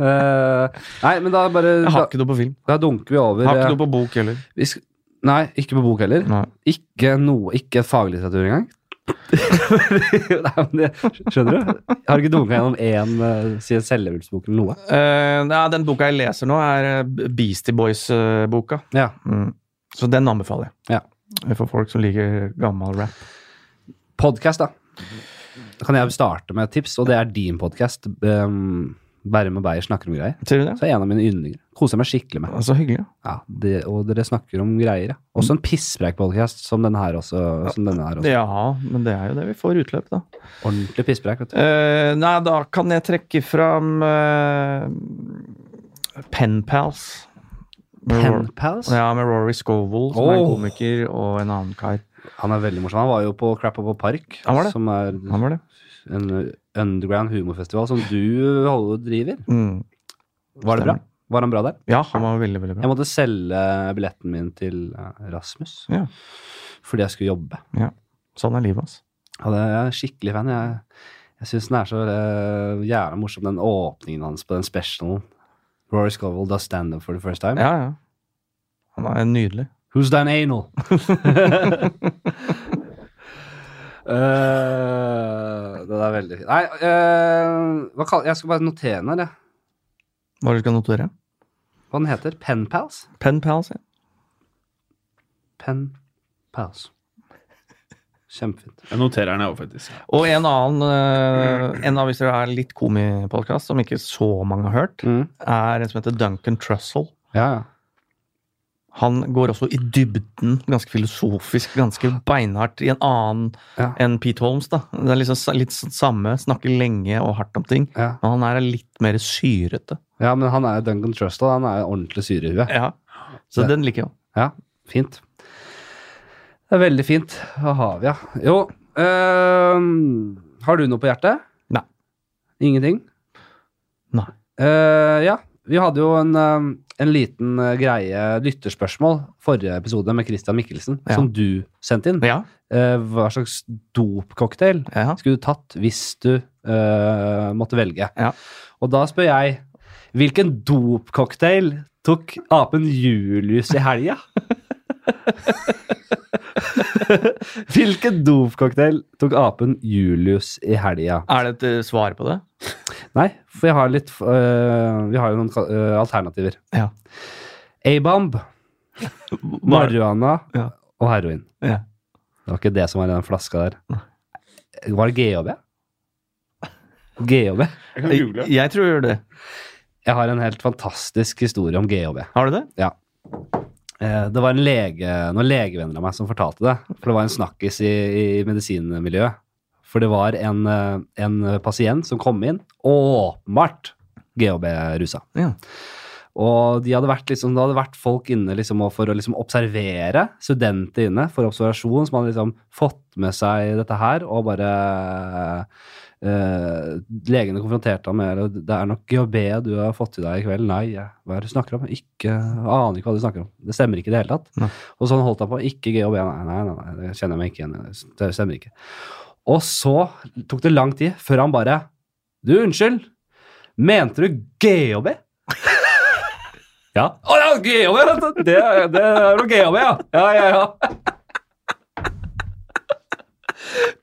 S1: Eh, nei, men da bare
S2: Jeg
S1: da,
S2: har ikke noe på film.
S1: da dunker vi over
S2: Jeg har
S1: eh,
S2: ikke noe på bok heller.
S1: vi sk Nei, ikke på bok heller.
S2: Nei.
S1: Ikke noe, ikke faglitteratur engang. Nei, men det, skjønner du? Jeg har ikke dunka gjennom én eh, siden Selvhjelpsboken eller noe.
S2: Eh, ja, den boka jeg leser nå, er eh, Beastie Boys-boka.
S1: Ja.
S2: Mm. Så den anbefaler jeg.
S1: Ja.
S2: For folk som liker gammel rap.
S1: Podkast, da. Da kan jeg starte med et tips, og det er din podkast. Um, Bærum og Beyer snakker om greier.
S2: Ser du det?
S1: Så er en av mine yndlinger. Koser jeg meg skikkelig med.
S2: Så hyggelig.
S1: Ja, det, og dere snakker om greier, ja. Også en pisspreik-podkast som denne her også. Som denne her også.
S2: Ja, men det er jo det vi får utløp, da.
S1: Ordentlig pisspreik, vet du.
S2: Eh, nei, da kan jeg trekke fram eh, Pen Pals. Med Rory-
S1: Penpals.
S2: Ja, med Rory Scovel, som er en
S1: Åh.
S2: komiker, og en annen kar.
S1: Han er veldig morsom. Han var jo på Crap Up Park,
S2: Han var det.
S1: som er
S2: Han var det.
S1: en underground humorfestival som du holder driver.
S2: Mm.
S1: Var det bra?
S2: Stemmer.
S1: Var han bra der?
S2: Ja, han var veldig, veldig
S1: Jeg
S2: bra.
S1: måtte selge billetten min til eh, Rasmus
S2: Ja.
S1: fordi jeg skulle jobbe.
S2: Sånn er livet hans.
S1: Ja, det- jeg er skikkelig fan. Jeg, jeg syns den er så eh, jævla morsom, den åpningen hans på den specialen. Rory Scovel does stand-up for the first time.
S2: Ja, ja. Han er nydelig.
S1: Who's done anal? Eh, det er veldig fint. Nei, eh, hva kall- jeg skal bare notere den her, jeg.
S2: Hva er det du skal notere?
S1: Hva den heter? Penpals?
S2: Pen Pals, ja.
S1: Pen Pals. Kjempefint.
S3: Jeg noterer den, jeg òg, faktisk.
S2: Og en annen, eh, en av hvis dere er litt komipodkast, som ikke så mange har hørt, er en som heter Duncan Trussell.
S1: Ja, ja.
S2: Han går også i dybden, ganske filosofisk, ganske beinhardt, i en annen
S1: Ja.
S2: enn Pete Holmes, da. Det er liksom sa- litt s- samme, snakker lenge og hardt om ting.
S1: Ja.
S2: Men han er litt mer syrete.
S1: ja, men han er jo Duncan Trustle. Han er jo ordentlig syre i huet.
S2: Ja. Så
S1: Det-
S2: den liker jeg.
S1: Ja, fint. Det er veldig fint. Hva har vi, ja? Jo, øhm, har du noe på hjertet?
S2: Nei.
S1: Ingenting?
S2: Nei.
S1: Eh, ja, vi hadde jo en, øhm, en liten eh, greie lytterspørsmål forrige episode med Christian Mikkelsen,
S2: Ja.
S1: som du sendte inn.
S2: Ja.
S1: Eh, hva slags dopcocktail
S2: ja.
S1: skulle du tatt hvis du øh, måtte velge?
S2: Ja.
S1: Og da spør jeg, hvilken dopcocktail tok apen Julius i helga? hvilken dopcocktail tok apen Julius i helga?
S2: Er det et eh, svar på det?
S1: Nei, for jeg har litt øh, Vi har jo noen ka- øh, alternativer.
S2: Ja.
S1: A-bomb, marihuana
S2: Ja.
S1: og heroin.
S2: Ja.
S1: Det var ikke det som var i den flaska der. Var det GHB? GHB?
S3: Jeg kan google.
S2: Jeg, jeg tror det.
S1: Jeg har en helt fantastisk historie om GHB.
S2: Har du det?
S1: Eh, Det var en lege, noen legevenner av meg som fortalte det. For det var en snakkis i, i medisinmiljøet. For det var en, eh, en pasient som kom inn, åpenbart GHB-rusa.
S2: Ja.
S1: Og de hadde vært liksom, det hadde vært folk inne liksom, og for å liksom observere studenter inne for observasjon, som hadde liksom fått med seg dette her, og bare eh, Legene konfronterte ham med det. Det er nok GHB du har fått i deg i kveld. Nei, jeg- hva er det du snakker om? Ikke, aner ikke hva du snakker om. Det stemmer ikke i det hele tatt.
S2: Nei.
S1: Og sånn holdt han på. Ikke GHB. Nei, nei, nei, nei, det kjenner jeg meg ikke igjen i. Det stemmer ikke. Og så tok det lang tid før han bare Du, unnskyld, mente du GHB? Ja. Å ja, GHB! vet du. Det, det er jo GHB, ja. Ja, ja, ja.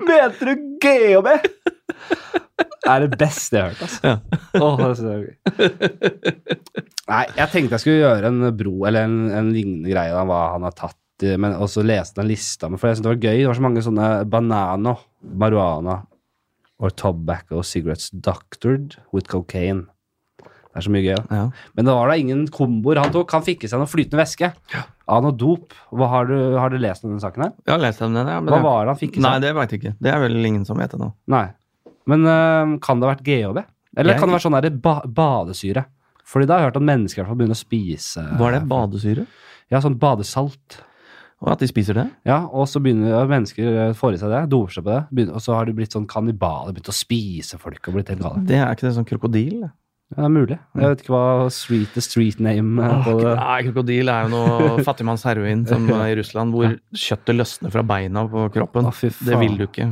S1: Mente du GHB? Det er det beste jeg har hørt, altså.
S2: Ja.
S1: Åh, det er så gøy. Nei, jeg tenkte jeg skulle gjøre en bro eller en, en lignende greie da, hva han har tatt, eh, men også lese den lista med, for jeg synes det var gøy. Det var så mange sånne banana, marihuana or tobacco cigarettes doctored with cocaine. Det er så mye gøy, da.
S2: Ja.
S1: Men det var da ingen komboer han tok. Han fikk i seg noe flytende væske av noe dop. Hva har, du, har du lest om denne saken her?
S2: Jeg har lest om den, ja. Men
S1: Hva
S2: jeg-
S1: var det han fikk i
S2: Nei,
S1: seg?
S2: det veit jeg ikke. Det er vel ingen som vet det nå.
S1: Nei. Men øhm, kan det ha vært GHB? Eller
S2: Jeg-
S1: kan det være sånn der ba badesyre? Fordi da har jeg hørt at mennesker i hvert fall begynner å spise
S2: Var det badesyre?
S1: Ja, sånn badesalt.
S2: Og at de spiser det?
S1: Ja, og så begynner mennesker å få i seg det, doper seg på det, begynner, og så har de blitt sånn kannibaler, begynt å spise folk og blitt helt gale.
S2: Det er ikke det sånn krokodil? det?
S1: Ja, det er mulig. Jeg vet ikke hva street, the street name eh, på det
S2: Nei, krokodil er jo noe fattigmannsheroin som er i Russland, hvor kjøttet løsner fra beina på kroppen.
S1: Å, fy faen.
S2: Det vil du ikke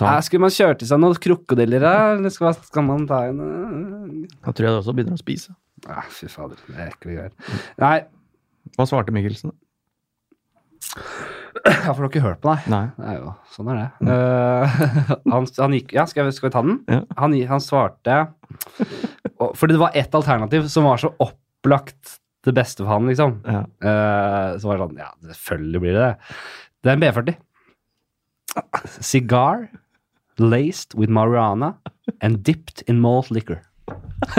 S2: ta.
S1: Nei, Skulle man kjørt i seg noen krokodiller her, eller skal, skal man ta en eh,
S2: Da tror jeg det også begynner å spise.
S1: ah, Fy fader, det er ekle greier. Nei,
S2: Hva svarte Mikkelsen?
S1: Jeg får dere ikke hørt på, nei.
S2: Nei.
S1: Det er jo, sånn er det. Eh, han, han gikk Ja, skal, jeg, skal vi ta den?
S2: Ja.
S1: Han, gi- han svarte og- Fordi det var ett alternativ som var så opplagt det beste for han, liksom.
S2: Ja.
S1: Eh, så var det sånn Ja, selvfølgelig blir det det. Det er en B40. Cigar laced with marijuana and dipped in malt liquor.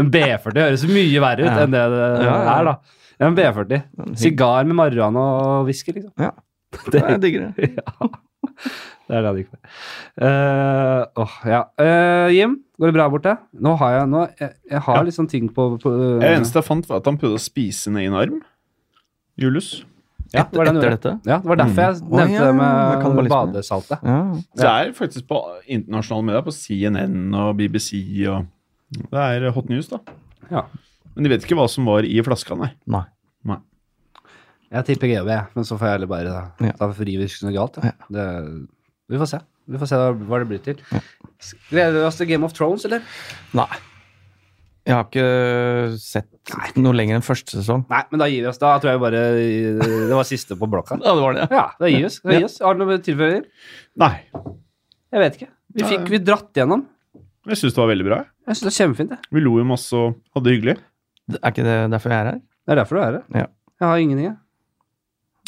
S1: en B40 høres mye verre ut
S2: Ja.
S1: enn det det
S2: Ja, ja.
S1: er, da. En B40. Sigar med marihuana og whisky, liksom.
S2: Ja.
S1: Det,
S2: Jeg digger det.
S1: ja. det er det han gikk med. Eh, åh, ja. Eh, Jim, går det bra borte? Nå har jeg, nå, jeg, jeg har
S3: Ja.
S1: litt sånn ting på, på
S3: Det eneste jeg fant, var at han prøvde å spise ned en arm. Julius.
S1: ja, det var det han
S2: Etter
S1: gjorde.
S2: dette?
S1: Ja, det var derfor jeg
S2: Mm. Å,
S1: nevnte
S2: ja,
S1: det
S2: jeg kan bare
S1: med
S2: liksom-
S1: badesaltet.
S2: Ja.
S3: Det er faktisk på internasjonale medier, på CNN og BBC og Det er hot news, da.
S1: Ja.
S3: Men de vet ikke hva som var i flaska, nei.
S2: Nei.
S3: nei.
S1: Jeg tipper GHB, jeg, men så får jeg heller bare
S2: Ja.
S1: da, ta frivirkende galt. jeg. Det, vi får se. Vi får se hva det blir til. Gleder vi oss til Game of Thrones, eller?
S2: Nei. Jeg har ikke øh, sett noe lenger enn første sesong.
S1: Nei, men da gir vi oss. Da tror jeg bare Det var siste på blokka.
S2: Ja, det var det.
S1: Ja, da gir vi oss. Da gir vi oss. Har du noe tilføyer?
S3: Nei.
S1: Jeg vet ikke. Vi
S3: Nei.
S1: fikk vi dratt gjennom.
S3: Jeg syns det var veldig bra. jeg.
S1: Jeg synes det er kjempefint, jeg.
S3: Vi lo jo masse og hadde det hyggelig.
S2: Er ikke det derfor jeg er her?
S1: Det er derfor du er her.
S2: Ja.
S1: Jeg har ingenting, jeg.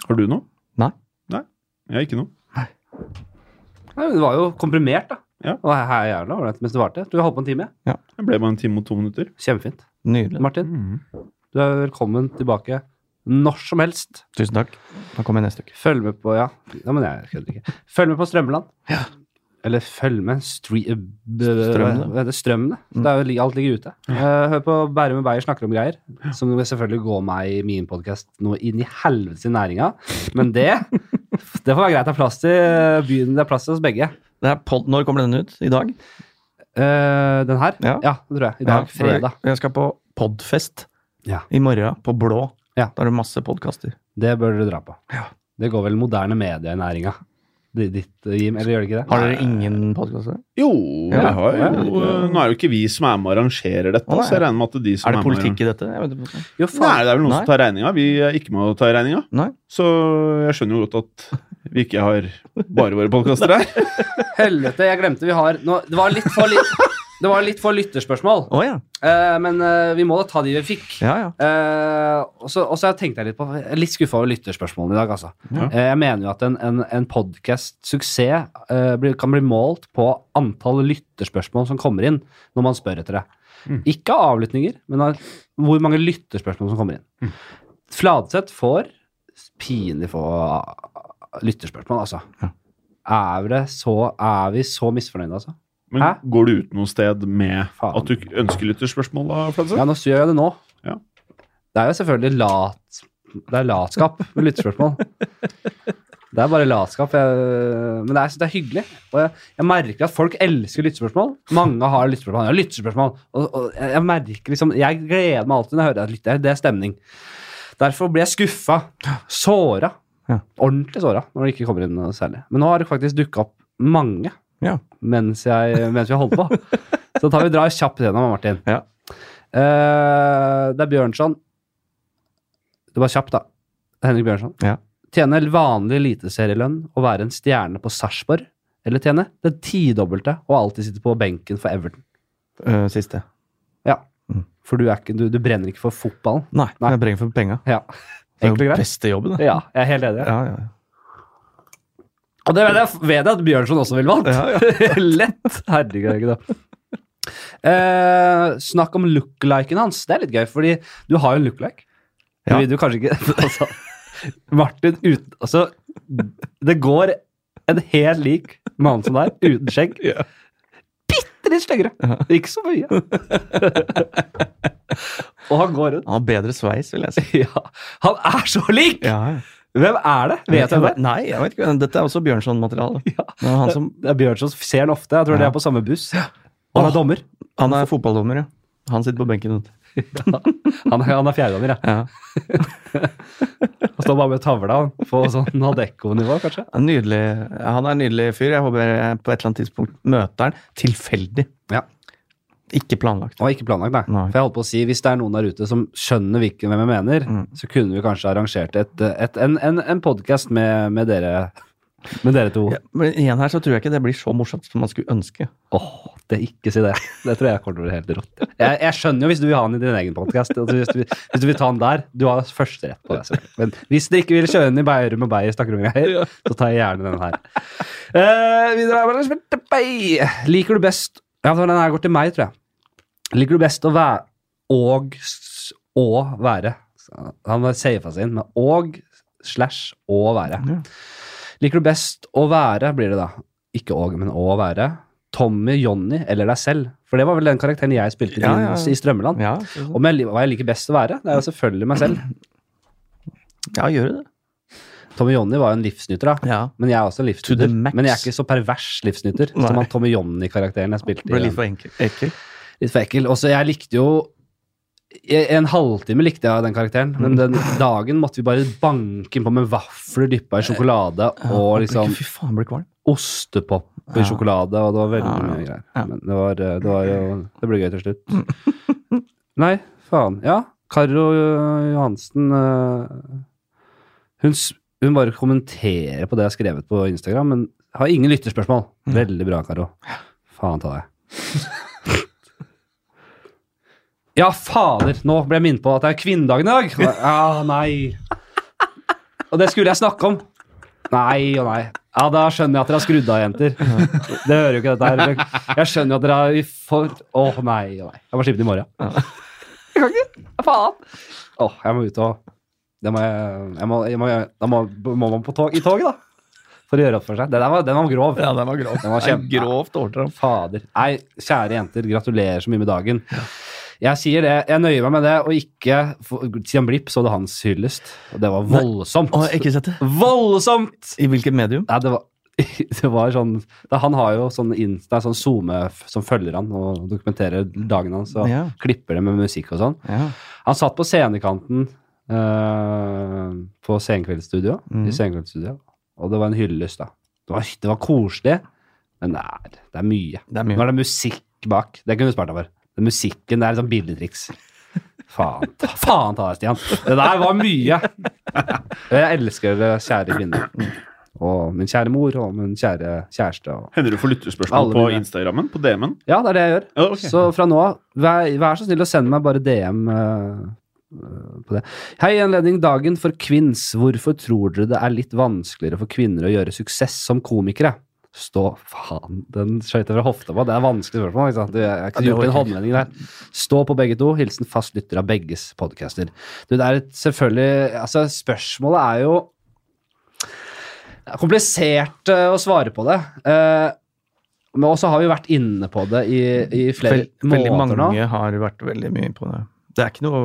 S3: Har du noe?
S2: Nei.
S3: Nei, Jeg har ikke noe.
S1: Nei, men Det var jo komprimert, da.
S3: Ja.
S1: Og her- her er jævla ålreit mens det varte. Du har holdt på en time.
S3: Jeg ble bare en time og to minutter.
S1: Kjempefint.
S2: Nydelig.
S1: Martin,
S3: Mhm.
S1: du er velkommen tilbake når som helst.
S2: Tusen takk. Da kommer jeg neste uke.
S1: Følg med på Ja, ja men jeg kødder ikke. Følg med på Strømmeland. Eller følg med eh, stre
S2: Strømmen.
S1: Strømmene. Strømmene. Det er jo, li- alt ligger ute. Eh, Hør på Bærum og Beyer snakker om greier, som vil selvfølgelig går meg i min podkast noe inn i helvetes i næringa. Men det det får være greit. Det er plass til eh, byen. Det er plass til oss begge.
S2: Det er pod Når kommer den ut? I dag?
S1: Eh, den her?
S2: Ja.
S1: det tror jeg. I dag,
S2: Ja, for
S1: fredag.
S2: Jeg, jeg skal på podfest
S1: Ja.
S2: i morgen, på Blå.
S1: Ja.
S2: Da er det masse podkaster.
S1: Det bør dere dra på.
S2: Ja.
S1: Det går vel moderne media i næringa. Di- Ditt, eh, Jim, eller gjør det ikke det?
S2: Har dere ingen podkaster?
S3: Jo,
S2: Ja,
S3: jeg har
S2: ja.
S3: jo eh, Nå er det jo ikke vi som er med og arrangerer dette,
S2: Å, nei.
S3: så jeg regner med at de som
S2: Er det
S3: med og
S2: politikk i dette? Jeg vet ikke.
S1: Jo,
S3: Nei,
S1: faen.
S3: det er vel noen
S2: Nei.
S3: som tar regninga. Vi er ikke med å ta regninga.
S2: Nei.
S3: Så jeg skjønner jo godt at vi ikke har bare våre podkaster her.
S1: Helvete, jeg glemte vi har nå, Det var litt for, litt, det var litt for lytterspørsmål,
S2: Å ja.
S1: Eh, men eh, vi må da ta de vi fikk.
S2: Ja, ja.
S1: Eh, og så og så tenkte jeg litt på Jeg er litt skuffa over lytterspørsmålene i dag, altså.
S3: Ja.
S1: Eh, jeg mener jo at en, en, en podkast-suksess eh, blir- kan bli målt på antall lytterspørsmål som kommer inn når man spør etter det.
S3: Mm.
S1: Ikke avlytninger, men av hvor mange lytterspørsmål som kommer inn.
S3: Mm.
S1: Fladseth får pinlig få lytterspørsmål, altså.
S2: Ja.
S1: Er, det så, er vi så misfornøyde, altså?
S3: Men
S1: Hæ?
S3: går du ut noe sted med
S1: Faen.
S3: at du ønsker lytterspørsmål, da, Fladseth?
S1: Ja, nå gjør jeg det nå.
S3: altså. Ja.
S1: Det er jo selvfølgelig lat, det er latskap med lyttespørsmål. Det er bare latskap. Jeg, men det er, det er hyggelig. Og jeg, jeg merker at folk elsker lyttespørsmål. Mange har lyttespørsmål. Jeg har lyttespørsmål. Og, og jeg, jeg merker liksom Jeg gleder meg alltid når jeg hører at lytter, det er stemning. Derfor blir jeg skuffa. Såra.
S2: Ja.
S1: Ordentlig såra når det ikke kommer inn noe særlig. Men nå har det faktisk dukka opp mange
S2: ja.
S1: mens, jeg, mens vi har holdt på. Så tar vi drar kjapt gjennom, Martin.
S2: Ja.
S1: Eh, det er Bjørnson. Det var kjapt, da. Henrik Bjørnson.
S2: Ja.
S1: Tjene vanlig eliteserielønn og være en stjerne på Sarpsborg. Eller tjene det tidobbelte og alltid sitte på benken for Everton.
S2: Eh, siste.
S1: Ja.
S2: Mm.
S1: For du, er ikke, du, du brenner ikke for fotballen.
S2: Nei,
S1: Nei.
S2: jeg brenger for penga.
S1: Ja.
S2: Det er
S1: Enkelt og
S2: jo
S1: greit.
S2: beste jobben, det.
S1: Ja, jeg er helt enig.
S2: Ja, ja, ja.
S1: Og det vet jeg, vet jeg at Bjørnson også ville valgt.
S2: Ja,
S1: Lett. Herregud, ikke det. Eh, snakk om lookliken hans. Det er litt gøy, fordi du har jo en looklike. Det
S2: Ja.
S1: vil du kanskje ikke altså, Martin uten Altså, det går en helt lik mann som deg, uten skjegg.
S2: Ja.
S1: Bitte litt sleggere. Ikke så mye. Og han går rundt.
S2: Han har bedre sveis, vil jeg si.
S1: Ja. Han er så lik!
S2: Ja, ja.
S1: Hvem er det? Vet du det?
S2: Nei, jeg vet ikke. Dette er også Bjørnson-materiale. Det er han som
S1: Det er Bjørnson ser han ofte. Jeg tror
S2: Ja.
S1: de er på samme buss. Han er
S2: Åh.
S1: dommer.
S2: Han er fotballdommer, ja. Han sitter på benken. vet du.
S1: Han er, han er fjerdedommer, ja.
S2: Ja.
S1: Han står bare med tavla han, på sånn Adecco-nivå, kanskje.
S2: Han er Nydelig. Han er en nydelig fyr. Jeg håper jeg på et eller annet tidspunkt møter han tilfeldig.
S1: Ja.
S2: Ikke planlagt.
S1: Det var ikke planlagt, nei.
S2: Nei.
S1: For jeg holdt på å si, hvis det er noen der ute som skjønner hvilken, hvem jeg mener,
S2: Mm.
S1: så kunne vi kanskje arrangert et, et, en, en, en podkast med, med dere med dere to.
S2: Ja, men igjen her så tror jeg ikke det blir så morsomt som man skulle ønske.
S1: Åh, det ikke si det. Det tror jeg kommer til å bli helt rått. Jeg, jeg skjønner jo hvis du vil ha den i din egen podkast. Hvis, du- hvis du vil ta den der. Du har første rett på det. selvfølgelig. Men hvis dere ikke vil kjøre den i Beirum og Beyer snakker om greier, så tar jeg gjerne den her. Eh, videre er det- Bei. Liker du best Ja, for den her går til meg, tror jeg. Liker du best å være og s- å være? Han var safa sin med og slash å være.
S2: Ja.
S1: Liker du best å være, blir det da. Ikke og, men å være. Tommy, Johnny eller deg selv. For det var vel den karakteren jeg spilte i
S2: Ja, ja, ja.
S1: i Strømmeland.
S2: Ja,
S1: Om jeg, li- hva jeg liker best å være? Det er jo selvfølgelig meg selv.
S2: ja gjør det.
S1: Tommy Johnny var jo en livsnyter, da.
S2: Ja.
S1: Men jeg er også en
S2: To
S1: livsnyter.
S2: the max.
S1: Men jeg er ikke så pervers livsnyter
S2: Nei.
S1: som han Tommy Johnny-karakteren jeg spilte
S2: Det ble
S1: i.
S2: litt for enkel. ekkel.
S1: Litt for ekkel. Også jeg likte jo i en halvtime likte jeg den karakteren, men den dagen måtte vi bare banke innpå med vafler dyppa i sjokolade og liksom
S2: Fy faen, jeg blir kvalm.
S1: ostepop i
S2: Ja.
S1: sjokolade, og det var veldig
S2: Ja, ja.
S1: mye greier.
S2: Ja.
S1: Men det var, eh, det var jo Det ble gøy til slutt. Nei, faen. Ja, Karo eh, Johansen eh, hun, s- hun bare kommenterer på det jeg har skrevet på Instagram, men har ingen lytterspørsmål.
S2: Mm.
S1: Veldig bra, Karo. Faen ta deg. Ja, fader! Nå ble jeg minnet på at det er kvinnedagen i dag! Ja, nei. Og det skulle jeg snakke om. Nei og nei. Ja, da skjønner jeg at dere har skrudd av, jenter. Det hører jo ikke dette her. Jeg skjønner jo at dere har for... Å nei og nei. Jeg må slippe det i morgen. Jeg kan ikke. Faen. Åh, jeg må ut og det må jeg, jeg, må, jeg må, Da må, må man på tog, i toget, da. For å gjøre opp for seg. Den der var, den var grov.
S2: den var grov.
S1: Den var kjempe-
S2: Grovt overtramp.
S1: Fader. Nei, kjære jenter, gratulerer så mye med dagen. Jeg sier det, jeg nøyer meg med det, og ikke for- Stian Blipp så det hans hyllest. Og det var
S2: Nei.
S1: voldsomt.
S2: Å, jeg har ikke sett det.
S1: Voldsomt!
S2: I hvilket medium?
S1: Nei, det var, det var sånn da, Han har jo sånn, inn- det er sånn SoMe f- som følger han og dokumenterer dagen hans og
S2: Ja.
S1: klipper det med musikk og sånn.
S2: Ja.
S1: Han satt på scenekanten eh, på Senkveldsstudio,
S2: Mhm.
S1: i Senkveldsstudio, og det var en hyllest, da. Det var, det var koselig, men det er, det er mye.
S2: Det er
S1: Nå
S2: mye.
S1: er det musikk bak. Det kunne du spart deg for. Den musikken det er sånn billedtriks. Faen ta, faen ta deg, Stian. Det der var mye. Jeg elsker dere, kjære kvinner. Og min kjære mor og min kjære kjæreste. Og...
S3: Hender du får lyttespørsmål
S1: Alle
S3: på
S1: mine.
S3: Instagrammen? På DM-en?
S1: Ja, det er det jeg gjør.
S3: Ja, ok.
S1: Så fra nå av, vær, vær så snill å sende meg bare DM eh, eh, på det. Hei, i anledning dagen for kvinns. Hvorfor tror dere det er litt vanskeligere for kvinner å gjøre suksess som komikere? Stå Faen, den skøyta fra hofta på. Det er vanskelig spørsmål. Ikke sant? Du, jeg
S2: Ja, det
S1: kunne gjort en
S2: orker
S1: håndvending der. Stå på begge to. Hilsen fast lytter av begges podcaster. Du, det er et selvfølgelig Altså, spørsmålet er jo det er komplisert eh, å svare på det. Eh, men også har vi vært inne på det i, i flere
S2: Vel- Veldig
S1: måneder nå.
S2: mange har vært veldig mye på det. Det er ikke noe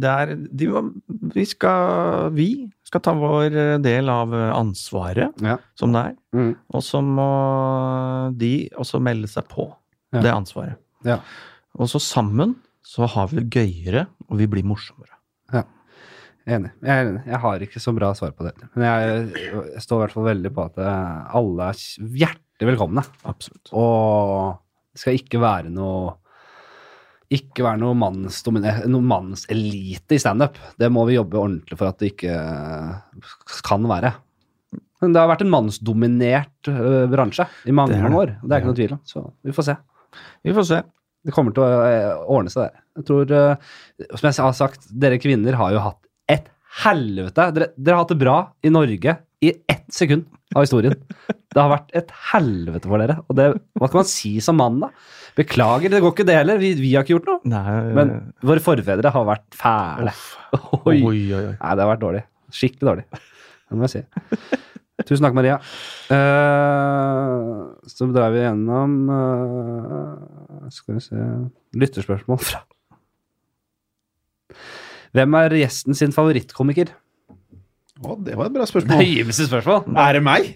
S2: Det er de, må- Vi skal Vi skal ta vår del av ansvaret
S1: Ja.
S2: som det er,
S1: Mm.
S2: og så må de også melde seg på
S1: Ja.
S2: det ansvaret.
S1: Ja.
S2: Og så sammen så har vi det gøyere, og vi blir morsommere.
S1: Enig. Jeg er enig. Jeg har ikke så bra svar på det. Men jeg, jeg står i hvert fall veldig på at eh, alle er kj- hjertelig velkomne.
S2: Absolutt.
S1: Og det skal ikke være noe ikke være noe mannsdomine- noe mannselite i standup. Det må vi jobbe ordentlig for at det ikke eh, kan være. Men det har vært en mannsdominert eh, bransje i mange,
S2: Det er det.
S1: mange år. og Det er ikke noe tvil om. Så vi får se.
S2: Vi får se.
S1: Det kommer til å eh, ordne seg, det. Jeg tror, eh, som jeg har sagt, dere kvinner har jo hatt et helvete. Dere, dere har hatt det bra i Norge i ett sekund av historien. Det har vært et helvete for dere. Og det, hva kan man si som mann, da? Beklager, det går ikke det heller. Vi, vi har ikke gjort noe.
S2: Nei,
S1: Men våre forfedre har vært fæle.
S2: oi,
S1: Oi.
S2: oi, oi.
S1: Nei, det har vært dårlig. Skikkelig dårlig. Det må jeg si. Tusen takk, Maria. Eh, så drar vi gjennom eh, Skal vi se Lytterspørsmål fra Hvem er gjesten sin favorittkomiker?
S3: Å, det var et bra spørsmål.
S1: Høyeste spørsmål!
S3: Er det meg?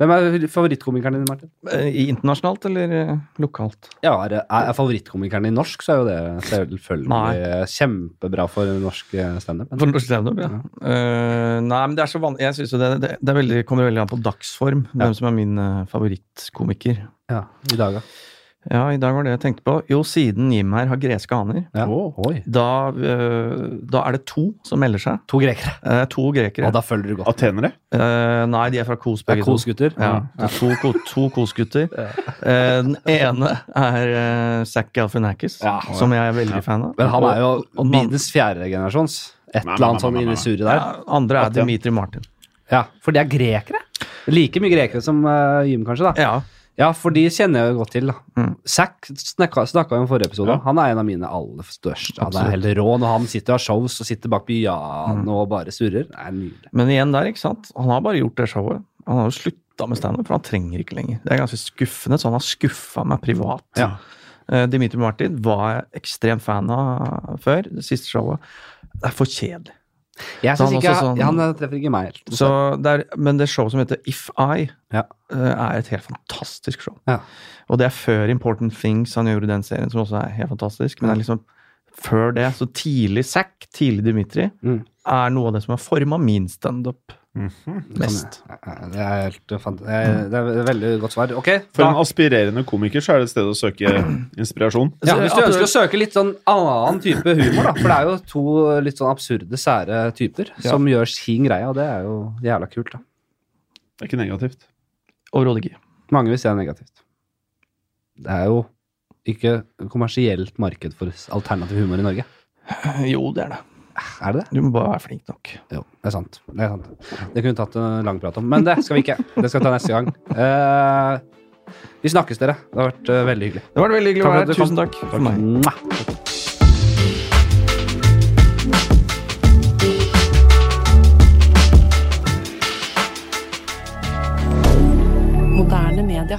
S1: Hvem er favorittkomikeren din, Martin?
S2: Eh, i Internasjonalt eller eh, lokalt?
S1: Ja, Er, er er favorittkomikeren din norsk, så er jo det selvfølgelig kjempebra for norsk eh, standup. men-
S2: For norsk standup, ja. Eh, nei, men det er så vanlig Jeg synes jo det, det, det er veldig, kommer veldig an på dagsform, hvem som er min eh, favorittkomiker.
S1: Ja, i dag, ja.
S2: Ja, i dag var det jeg tenkte på. Jo, siden Jim her har greske aner,
S1: Ja.
S3: Åh.
S1: Oi.
S2: da, eh, da er det to som melder seg.
S1: To grekere.
S2: Eh, to grekere.
S1: Og da følger du godt.
S3: Athenere?
S2: Eh, nei, de er fra Kos,
S1: Det er
S2: begge to.
S1: kos, gutter. Mm.
S2: Ja,
S1: Ja.
S2: to, ko- to kosgutter. Eh, den ene er eh, Zack Galfinakis,
S1: Ja.
S2: som jeg er veldig fan av.
S1: Men han er jo
S2: Og- og den
S1: minst fjerde generasjons. Et
S3: Nei,
S1: eller annet
S3: nei, nei,
S1: sånn
S3: nei,
S1: inni
S3: nei.
S1: surret der.
S2: andre- andre er
S3: At, ja.
S2: Dimitri Martin.
S1: Ja, For de er grekere? Like mye grekere som eh, Jim, kanskje? da.
S2: Ja,
S1: Ja, for de kjenner jeg jo godt til. da.
S2: Mm.
S1: Zack snakka snakka jo om forrige episode.
S3: Ja.
S1: Han er en av mine aller største. Han er helt rå når han sitter og har shows og sitter bak pianoet
S2: Mm.
S1: og bare surrer. Det er nydelig.
S2: Men igjen der, ikke sant? Han har bare gjort det showet. Han har jo slutta med standup, for han trenger ikke lenger. Det er ganske skuffende, så han har skuffa meg privat.
S1: Ja.
S2: Eh, Dimitri Martin var jeg ekstremt fan av før, det siste showet. Det er for kjedelig.
S1: Jeg
S2: Så
S1: synes
S2: han
S1: ikke,
S2: også sånn-
S1: Han eh, treffer ikke meg helt.
S2: Så det er, men det showet som heter If I,
S1: Ja.
S2: eh, er et helt fantastisk show.
S1: Ja.
S2: Og det er før Important Things han gjorde den serien, som også er helt fantastisk. Men det
S1: Mm.
S2: er liksom før det, så tidlig Zack, tidlig Dimitri,
S1: Mm.
S2: er noe av det som har forma min standup
S1: Mhm.
S2: mest.
S1: Ja, Det er, helt, fant- det er- det er et veldig godt svar. Ok,
S3: For
S1: da-
S3: en aspirerende komiker så er det et sted å søke inspirasjon.
S1: ja,
S2: Så-
S1: hvis du
S2: absolutt.
S1: ønsker å søke litt sånn annen type humor, da, for det er jo to litt sånn absurde, sære typer
S2: Ja.
S1: som gjør sin greie, og det er jo jævla kult, da.
S3: Det er ikke negativt.
S2: Overhodet ikke.
S1: Mange vil se det negativt. Det er jo ikke kommersielt marked for alternativ humor i Norge.
S2: Jo, det er det.
S1: Er det det?
S2: Du må bare være flink nok.
S1: Jo, det er sant. Det er sant. Det kunne vi tatt en lang prat om, men det skal vi ikke. Det skal vi ta neste gang. Eh, vi snakkes, dere. Det har vært eh, veldig hyggelig.
S2: Det var veldig hyggelig å
S1: Takk for
S2: være
S1: at
S2: her.
S1: du kom.
S2: Tusen takk for meg.
S1: Mwah.
S4: Moderne media.